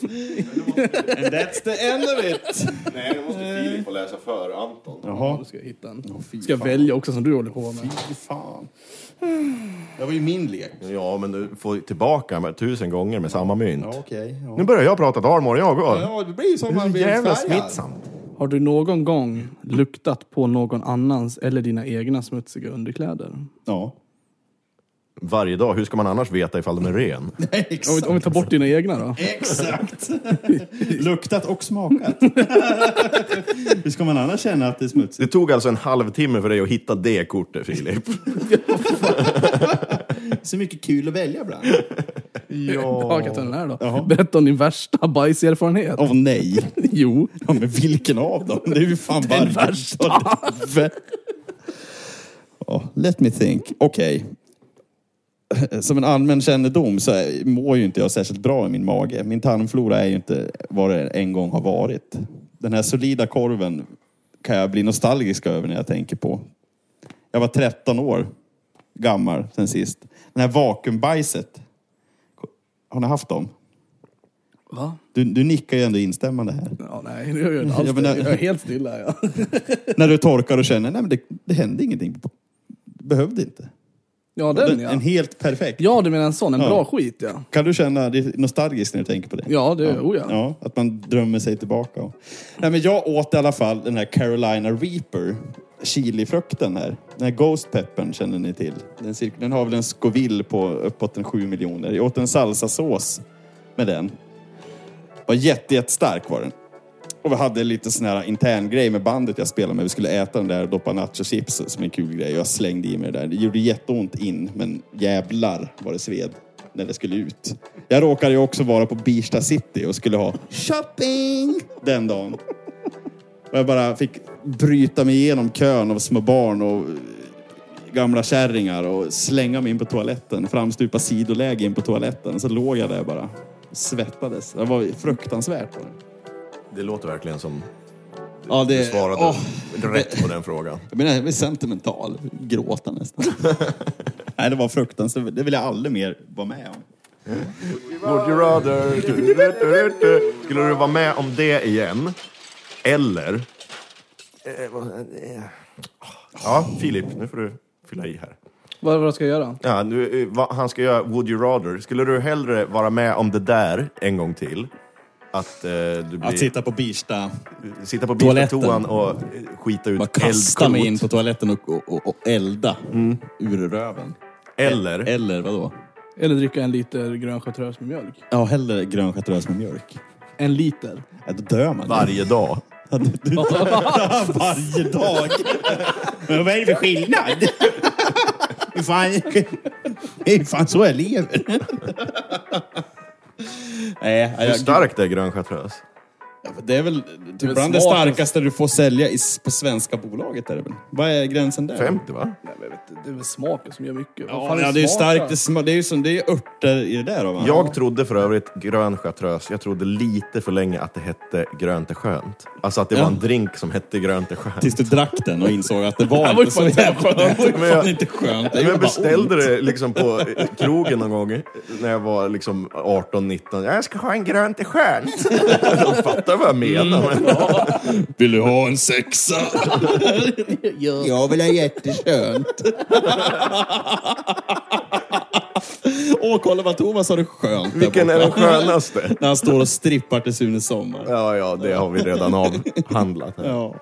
Speaker 10: And that's the end of it!
Speaker 2: Nej, då måste Filip få läsa för Anton.
Speaker 12: Jaha. Då ska jag hitta en. ska jag välja också som du håller på med.
Speaker 10: Fan. Det var ju min lek.
Speaker 2: Ja, men du får tillbaka med tusen gånger med samma mynt.
Speaker 10: Okej.
Speaker 2: Nu börjar jag prata dalmål jag också.
Speaker 10: Ja, det blir ju
Speaker 1: Mm.
Speaker 10: som man
Speaker 2: Det är
Speaker 10: blir
Speaker 2: så jävla
Speaker 10: färgad.
Speaker 2: smittsamt.
Speaker 12: Har du någon gång luktat på någon annans eller dina egna smutsiga underkläder?
Speaker 10: Ja.
Speaker 2: Varje dag, hur ska man annars veta ifall den är ren?
Speaker 12: Om vi, om vi tar bort dina egna då?
Speaker 10: Exakt! Luktat och smakat. Hur ska man annars känna att det är
Speaker 2: Det
Speaker 10: smutsigt?
Speaker 2: tog alltså en halvtimme för dig att hitta det kortet, Filip.
Speaker 10: Så mycket kul att välja bland.
Speaker 12: Ja. Jag den här då. Berätta om din värsta bajserfarenhet.
Speaker 10: Åh nej!
Speaker 12: Jo.
Speaker 10: Ja, men vilken av dem? Det är ju fan
Speaker 12: Den
Speaker 10: varje
Speaker 12: värsta.
Speaker 10: dag. Ja, let me think. Okej. Som en allmän kännedom så är- mår ju inte jag särskilt bra i min mage. Min tarmflora är ju inte vad det en gång har varit. Den här solida korven kan jag bli nostalgisk över när jag tänker på. Jag var 13 år gammal sen sist. Den här vakuumbajset. Har ni haft dem?
Speaker 12: Va?
Speaker 10: Du, du nickar ju ändå instämmande här.
Speaker 12: Ja, nej, det gör jag inte alls.
Speaker 10: Jag menar-
Speaker 12: Jag är helt stilla. här, Ja.
Speaker 10: När du torkar och känner, nej men det, det hände ingenting. Behövde inte.
Speaker 12: ja, den
Speaker 10: Den-
Speaker 12: ja.
Speaker 10: En helt perfekt.
Speaker 12: Ja, du menar en sån. En
Speaker 10: Ja.
Speaker 12: bra skit ja.
Speaker 10: Kan du känna dig nostalgisk när du tänker på det?
Speaker 12: Ja, det gör oh, ja.
Speaker 10: Ja, att man drömmer sig tillbaka. och- Nej, men jag åt i alla fall den här Carolina Reaper, chilifrukten här. Den här Ghost Peppern känner ni till. Den, cirk- den har väl en Scoville på uppåt en 7 miljoner. Jag åt en salsasås med den. Var jätte, jättestark var den. Och vi hade lite sån här intern grej med bandet jag spelade med. Vi skulle äta den där och doppa nachochips som en kul grej. Jag slängde i mig det där. Det gjorde jätteont in, men jävlar vad det sved när det skulle ut. Jag råkade ju också vara på Birsta City och skulle ha shopping den dagen. Och jag bara fick bryta mig igenom kön av små barn och gamla kärringar och slänga mig in på toaletten. Framstupa sidoläge in på toaletten. Så låg jag där bara. Svettades. Det var fruktansvärt. var det.
Speaker 2: Det låter verkligen som
Speaker 10: Ja, det,
Speaker 2: du svarade
Speaker 10: åh,
Speaker 2: rätt på den frågan.
Speaker 10: jag menar, jag blir sentimental. Gråta nästan. Nej, det var fruktansvärt. Det vill jag aldrig mer vara med om.
Speaker 2: Would you rather... Skulle du vara med om det igen? Eller... Eh, vad- eh. Ja, Filip, nu får du fylla i här.
Speaker 12: Vad, vad ska jag göra?
Speaker 2: Ja, nu, eh, vad han ska göra Would you rather. Skulle du hellre vara med om det där en gång till? Att, eh, du blir,
Speaker 1: Att sitta på Birsta.
Speaker 2: sitta på
Speaker 1: toaletten.
Speaker 2: toaletten och eh, skita ut
Speaker 1: Bara kasta
Speaker 2: eldkot.
Speaker 1: mig in på toaletten och, och, och, och elda
Speaker 2: Mm.
Speaker 1: ur röven.
Speaker 2: Eller?
Speaker 1: Eller vadå?
Speaker 12: Eller dricka en liter grön chartreuse med mjölk.
Speaker 1: Ja, hellre grön chartreuse med mjölk.
Speaker 12: En liter.
Speaker 1: Ja, då dör man.
Speaker 2: Varje dag.
Speaker 1: Ja, du, du dör varje dag.
Speaker 13: Men vad är det för skillnad? Hur fan, hur fan så jag lever?
Speaker 1: Nej,
Speaker 2: Hur
Speaker 1: jag-
Speaker 2: starkt är grön chartreuse?
Speaker 1: Det är väl
Speaker 10: Det är
Speaker 1: typ bland det
Speaker 10: smaken.
Speaker 1: starkaste du får sälja i, på svenska bolaget. Är det väl? Vad är gränsen där?
Speaker 2: 50 va?
Speaker 12: Det är väl smaken som gör mycket. Vad
Speaker 1: Ja,
Speaker 12: fan
Speaker 1: ja, det är ju
Speaker 12: smak,
Speaker 1: starkt.
Speaker 12: då?
Speaker 1: Det, är
Speaker 2: alltså.
Speaker 1: sma- det är ju som, det är örter i det där. Va?
Speaker 2: Jag trodde för övrigt grön chartreuse, jag trodde lite för länge att det hette grönt är skönt. Alltså att det var
Speaker 1: Ja.
Speaker 2: en drink som hette grönt är skönt.
Speaker 1: Tills du drack den och insåg att det var
Speaker 2: Det var ju
Speaker 1: inte så
Speaker 2: fan
Speaker 1: jävla...
Speaker 2: inte
Speaker 1: Det var ju
Speaker 2: skönt. Men jag-
Speaker 1: fan inte skönt. Det gjorde
Speaker 2: Jag
Speaker 1: bara
Speaker 2: beställde
Speaker 1: ont.
Speaker 2: det liksom på eh, krogen någon gång eh, när jag var liksom 18-19. Jag ska ha en grönt är skönt. De fattar vad jag menar.
Speaker 1: Mm. Vill du ha en sexa?
Speaker 13: Jag vill ha jätteskönt.
Speaker 1: Åh, kolla vad Thomas har det skönt där
Speaker 2: Vilken är
Speaker 1: borta.
Speaker 2: den skönaste?
Speaker 1: När han står och strippar till Sune Sommar.
Speaker 2: Ja, ja, det har vi redan avhandlat. här.
Speaker 1: Ja.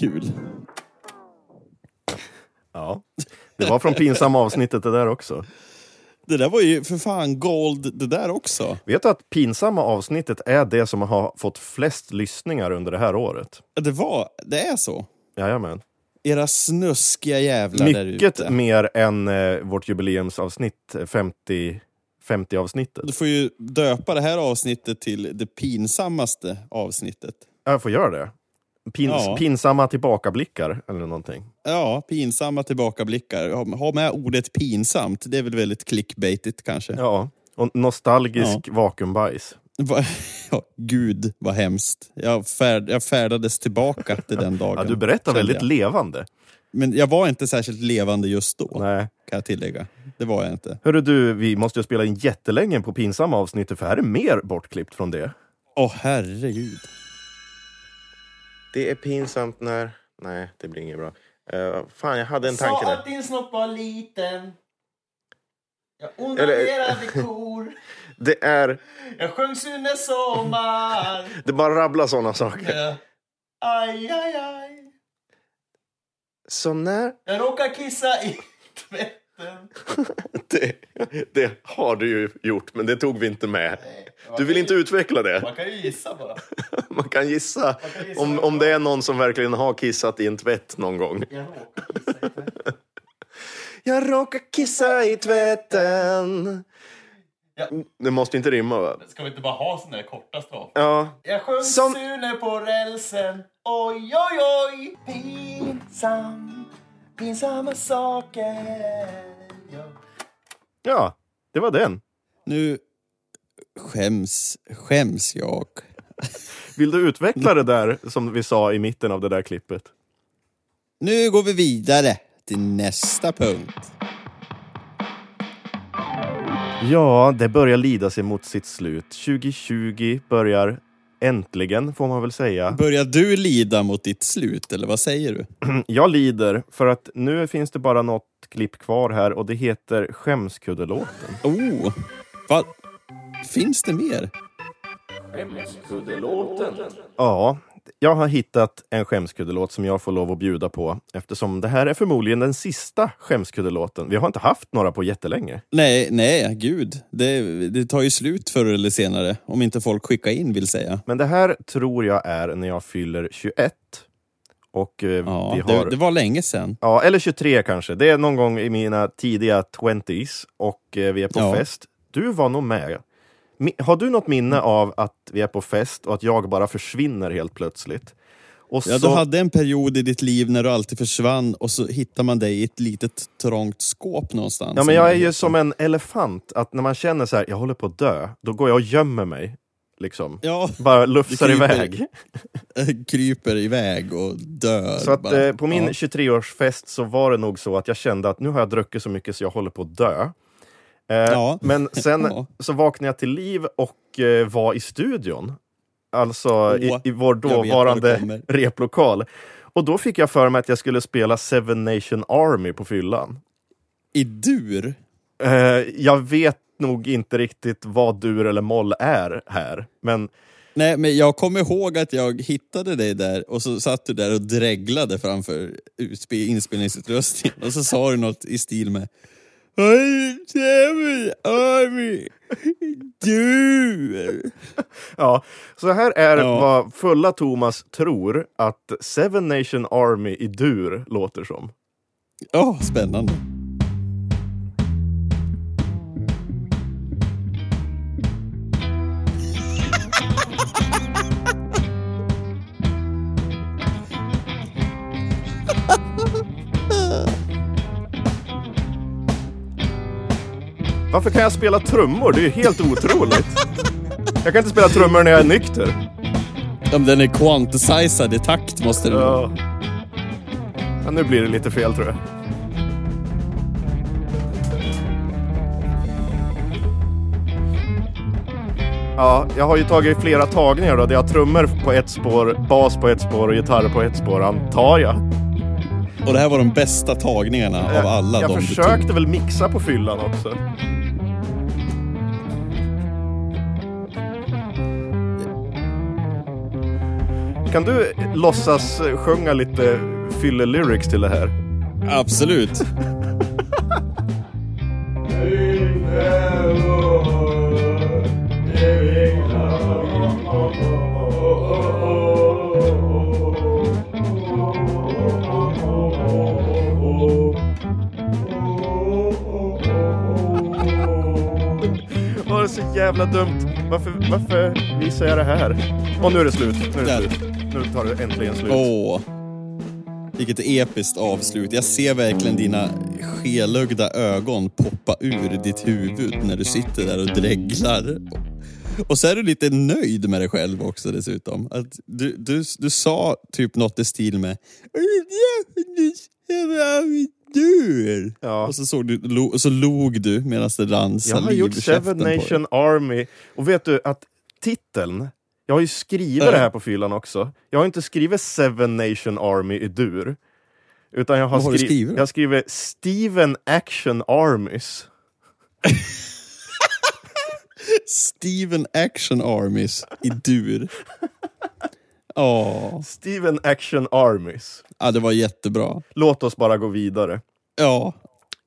Speaker 1: Kul.
Speaker 2: Ja. Det var från pinsamma avsnittet det där också.
Speaker 1: Det där var ju för fan gold det där också.
Speaker 2: Vet du att pinsamma avsnittet är det som har fått flest lyssningar under det här året?
Speaker 1: Det var, det är så.
Speaker 2: Jajamän.
Speaker 1: Era snuskiga jävlar där
Speaker 2: Mycket
Speaker 1: ute.
Speaker 2: mer än eh, vårt jubileumsavsnitt, eh, 50, 50 avsnittet.
Speaker 1: Du får ju döpa det här avsnittet till det pinsammaste avsnittet.
Speaker 2: Jag får göra det. Pins,
Speaker 1: Ja.
Speaker 2: Pinsamma tillbakablickar eller någonting.
Speaker 1: Ja, pinsamma tillbakablickar. Ha- Ha med ordet pinsamt. Det är väl väldigt clickbaitigt kanske.
Speaker 2: Ja. Och nostalgisk vakuumbajs.
Speaker 1: Va- Ja, Gud, vad hemskt. Jag, färd, jag färdades tillbaka till den dagen.
Speaker 2: Ja, du berättar
Speaker 1: kände
Speaker 2: väldigt
Speaker 1: jag.
Speaker 2: levande.
Speaker 1: Men jag var inte särskilt levande just då,
Speaker 2: Nej.
Speaker 1: kan jag tillägga. Det var jag inte.
Speaker 2: Hörru du, vi måste ju spela in jättelänge på pinsamma avsnittet för här är mer bortklippt från det.
Speaker 1: Åh, herregud.
Speaker 2: Det är pinsamt när... Nej, det blir inget bra. Uh, fan, jag hade en
Speaker 13: Sa att din snopp var liten. Jag onanerade kor.
Speaker 2: Det är...
Speaker 13: Jag sjöng Sune Sommar.
Speaker 2: Det bara rabblar sådana saker.
Speaker 13: Aj, aj, aj.
Speaker 2: Som när...
Speaker 13: Jag råkade kissa i tvätten.
Speaker 2: Det, det har du ju gjort, men det tog vi inte med. Du vill inte utveckla det?
Speaker 13: Man kan ju gissa bara.
Speaker 2: Man kan gissa
Speaker 13: kan gissa.
Speaker 2: om, om det är någon som verkligen har kissat i en tvätt någon gång.
Speaker 13: Jag råkade kissa i tvätten.
Speaker 2: Jag råkar kissa i tvätten.
Speaker 13: Ja.
Speaker 2: Det måste inte rimma, va?
Speaker 13: Ska vi inte bara ha såna där korta straff?
Speaker 2: Ja.
Speaker 13: Jag sjöng
Speaker 2: Som-
Speaker 13: Sune på rälsen. Oj, oj, oj. Pinsam. Pinsamma saker. Ja.
Speaker 2: Ja, det var den.
Speaker 1: Nu skäms, skäms jag.
Speaker 2: Vill du utveckla det där som vi sa i mitten av det där klippet?
Speaker 1: Nu går vi vidare till nästa punkt.
Speaker 2: Ja, det börjar lida sig mot sitt slut. 2020 börjar äntligen, får man väl säga.
Speaker 1: Börjar du lida mot ditt slut, eller vad säger du?
Speaker 2: Jag lider, för att nu finns det bara något klipp kvar här och det heter Skämskuddelåten.
Speaker 1: Oh, vad... Finns det mer?
Speaker 2: Ja, jag har hittat en skämskuddelåt som jag får lov att bjuda på eftersom det här är förmodligen den sista skämskuddelåten. Vi har inte haft några på jättelänge.
Speaker 1: Nej, nej, gud. Det, det tar ju slut förr eller senare. Om inte folk skickar in, vill säga.
Speaker 2: Men det här tror jag är när jag fyller 21. Och eh,
Speaker 1: Ja,
Speaker 2: vi har...
Speaker 1: det, det var länge sedan.
Speaker 2: Ja, eller 23 kanske. Det är någon gång i mina tidiga 20s och eh, vi är på
Speaker 1: Ja.
Speaker 2: fest. Du var nog med. Mi- har du något minne
Speaker 1: Mm.
Speaker 2: av att vi är på fest och att jag bara försvinner helt plötsligt? Och
Speaker 1: Ja,
Speaker 2: så,
Speaker 1: du hade en period i ditt liv när du alltid försvann och så hittar man dig i ett litet trångt skåp någonstans.
Speaker 2: ja, men jag är ju som en elefant, att när man känner så här, jag håller på att dö, då går jag och gömmer mig. Liksom.
Speaker 1: Ja,
Speaker 2: Bara lufsar
Speaker 1: Du kryper.
Speaker 2: iväg.
Speaker 1: kryper iväg och dör.
Speaker 2: Så att,
Speaker 1: bara.
Speaker 2: eh, på min
Speaker 1: Ja.
Speaker 2: 23-årsfest så var det nog så att jag kände att nu har jag druckit så mycket så jag håller på att dö. Eh,
Speaker 1: Ja.
Speaker 2: Men sen
Speaker 1: Ja.
Speaker 2: så vaknade jag till liv och eh, var i studion. Alltså i,
Speaker 1: Åh,
Speaker 2: i vår
Speaker 1: vet var det
Speaker 2: dåvarande
Speaker 1: kommer.
Speaker 2: replokal. Och då fick jag för mig att jag skulle spela Seven Nation Army på fyllan.
Speaker 1: I dur?
Speaker 2: Eh, jag vet nog inte riktigt vad dur eller moll är här, men...
Speaker 1: Nej, men jag kommer ihåg att jag hittade dig där och så satt du där och dreglade framför utspe- inspelningsutrustningen och så sa du något i stil med Du!
Speaker 2: Ja, så här är vad fulla Thomas tror att Seven Nation Army i dur låter som.
Speaker 1: Ja, spännande.
Speaker 2: Varför kan jag spela trummor? Det är ju helt otroligt. Jag kan inte spela trummor när jag är nykter.
Speaker 1: Ja, men den är quantisized i takt måste det
Speaker 2: vara. Ja, nu blir det lite fel tror jag. Ja, jag har ju tagit flera tagningar då, där jag har trummor på ett spår, bas på ett spår och gitarr på ett spår, antar jag.
Speaker 1: Och det här var de bästa tagningarna av alla
Speaker 2: jag
Speaker 1: de du tog.
Speaker 2: försökte väl mixa på fyllan också. Kan du låtsas eh, sjunga lite fylle-lyrics till det här?
Speaker 1: Absolut.
Speaker 2: Åh, det är så jävla dumt. Varför, varför visar jag det här? Och nu är det slut. Nu, är det slut. nu tar det äntligen slut.
Speaker 1: Åh, vilket episkt avslut. Jag ser verkligen dina skelögda ögon poppa ur ditt huvud när du sitter där och dreglar. Och så är du lite nöjd med dig själv också dessutom. Att du, du, du sa typ något i stil med du. Och så, såg du, lo, och så log du medan det rann
Speaker 2: Jag har
Speaker 1: saliv
Speaker 2: gjort
Speaker 1: ur
Speaker 2: Seven
Speaker 1: käften på dig.
Speaker 2: Nation Army. Och vet du att titeln, jag har ju skrivit
Speaker 1: Ja.
Speaker 2: det här på fyllan också. Jag har inte skrivit Seven Nation Army i dur. Utan jag har,
Speaker 1: Vad har du
Speaker 2: skri-
Speaker 1: skrivit då?
Speaker 2: jag har skrivit Steven Action Armies.
Speaker 1: Steven Action Armies i dur. Ja.
Speaker 2: Steven Action Armies.
Speaker 1: Ja, det var jättebra.
Speaker 2: Låt oss bara gå vidare.
Speaker 1: Ja.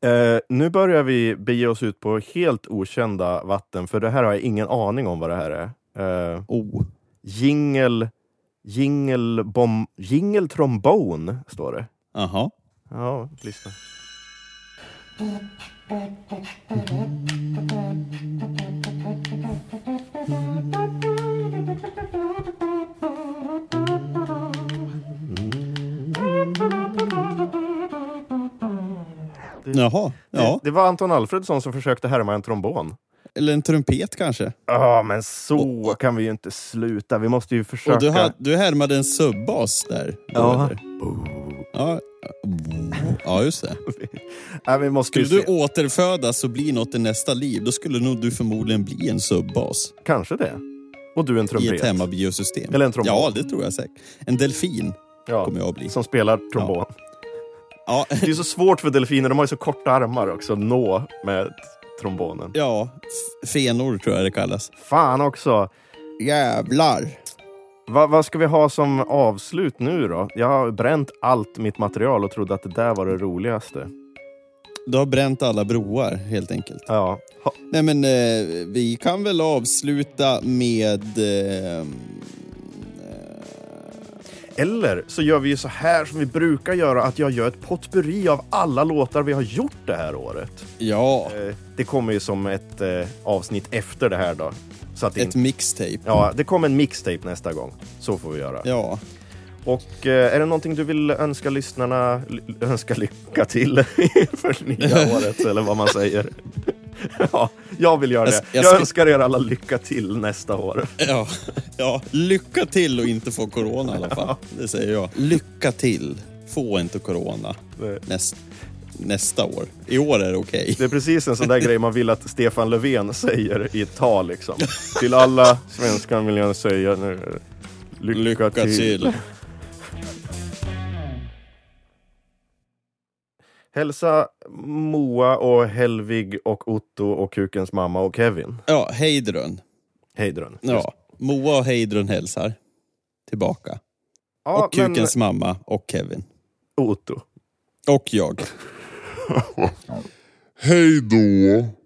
Speaker 2: Eh, nu börjar vi bege oss ut på helt okända vatten, för det här har jag ingen aning om vad det här är. Eh,
Speaker 1: oh.
Speaker 2: Jingle... Jingle, bom, jingle trombone, står det.
Speaker 1: Aha.
Speaker 2: Ja, lyssna.
Speaker 1: Jaha, ja.
Speaker 2: Det var Anton Alfredsson som försökte härma en trombon.
Speaker 1: Eller en trumpet kanske.
Speaker 2: Ja, men så kan vi ju inte sluta. Vi måste ju försöka.
Speaker 1: Och du, ha, du härmade en subbas där.
Speaker 2: Ja.
Speaker 1: Eller? Ja, ja, just det.
Speaker 2: Nej, vi måste ju
Speaker 1: Skulle du
Speaker 2: se.
Speaker 1: återfödas och bli något i nästa liv, då skulle nog du förmodligen bli en subbas.
Speaker 2: Kanske det. Och du en
Speaker 1: I
Speaker 2: trumpet.
Speaker 1: ett hemmabiosystem.
Speaker 2: Eller en trombon.
Speaker 1: Ja, det tror jag säkert. En delfin
Speaker 2: Ja,
Speaker 1: kommer jag att bli.
Speaker 2: Som spelar trombon.
Speaker 1: Ja.
Speaker 2: Det är ju så svårt för delfiner, de har ju så korta armar också, att nå med t- trombonen.
Speaker 1: Ja, f- fenor tror jag det kallas.
Speaker 2: Fan också!
Speaker 1: Jävlar!
Speaker 2: Va, vad ska vi ha som avslut nu då? Jag har bränt allt mitt material och trodde att det där var det roligaste.
Speaker 1: Du har bränt alla broar helt enkelt.
Speaker 2: Ja. Ha,
Speaker 1: Nej men eh, vi kan väl avsluta med... Eh,
Speaker 2: Eller så gör vi ju så här som vi brukar göra, att jag gör ett potpurri av alla låtar vi har gjort det här året.
Speaker 1: ja,
Speaker 2: Eh, Det kommer ju som ett eh, avsnitt efter det här då. Så att det
Speaker 1: ett
Speaker 2: inte-
Speaker 1: mixtape.
Speaker 2: Ja, det kommer en mixtape nästa gång. Så får vi göra.
Speaker 1: Ja.
Speaker 2: Och eh, är det någonting du vill önska lyssnarna ly- önska lycka till för nya året eller vad man säger? ja, jag vill göra
Speaker 1: Jag
Speaker 2: det.
Speaker 1: s- jag
Speaker 2: Jag,
Speaker 1: ska-
Speaker 2: önskar er alla lycka till nästa år.
Speaker 1: Ja, ja, lycka till och inte få corona i alla fall. Det säger jag. Lycka till. Få inte corona
Speaker 2: Nej.
Speaker 1: näst, nästa år. I år är det okej.
Speaker 2: Det är precis en sån där grej man vill att Stefan Löfven säger i ett tal liksom. Till alla svenskar vill jag säga nu. Lycka,
Speaker 1: Lycka till.
Speaker 2: Hälsa Moa och Helvig och Otto och Kukens mamma och Kevin.
Speaker 1: Ja, Heidrun.
Speaker 2: Heidrun.
Speaker 1: Ja, Moa och Heidrun hälsar tillbaka.
Speaker 2: Ja,
Speaker 1: och Kukens mamma och Kevin.
Speaker 2: Otto.
Speaker 1: Och jag.
Speaker 14: Hej då!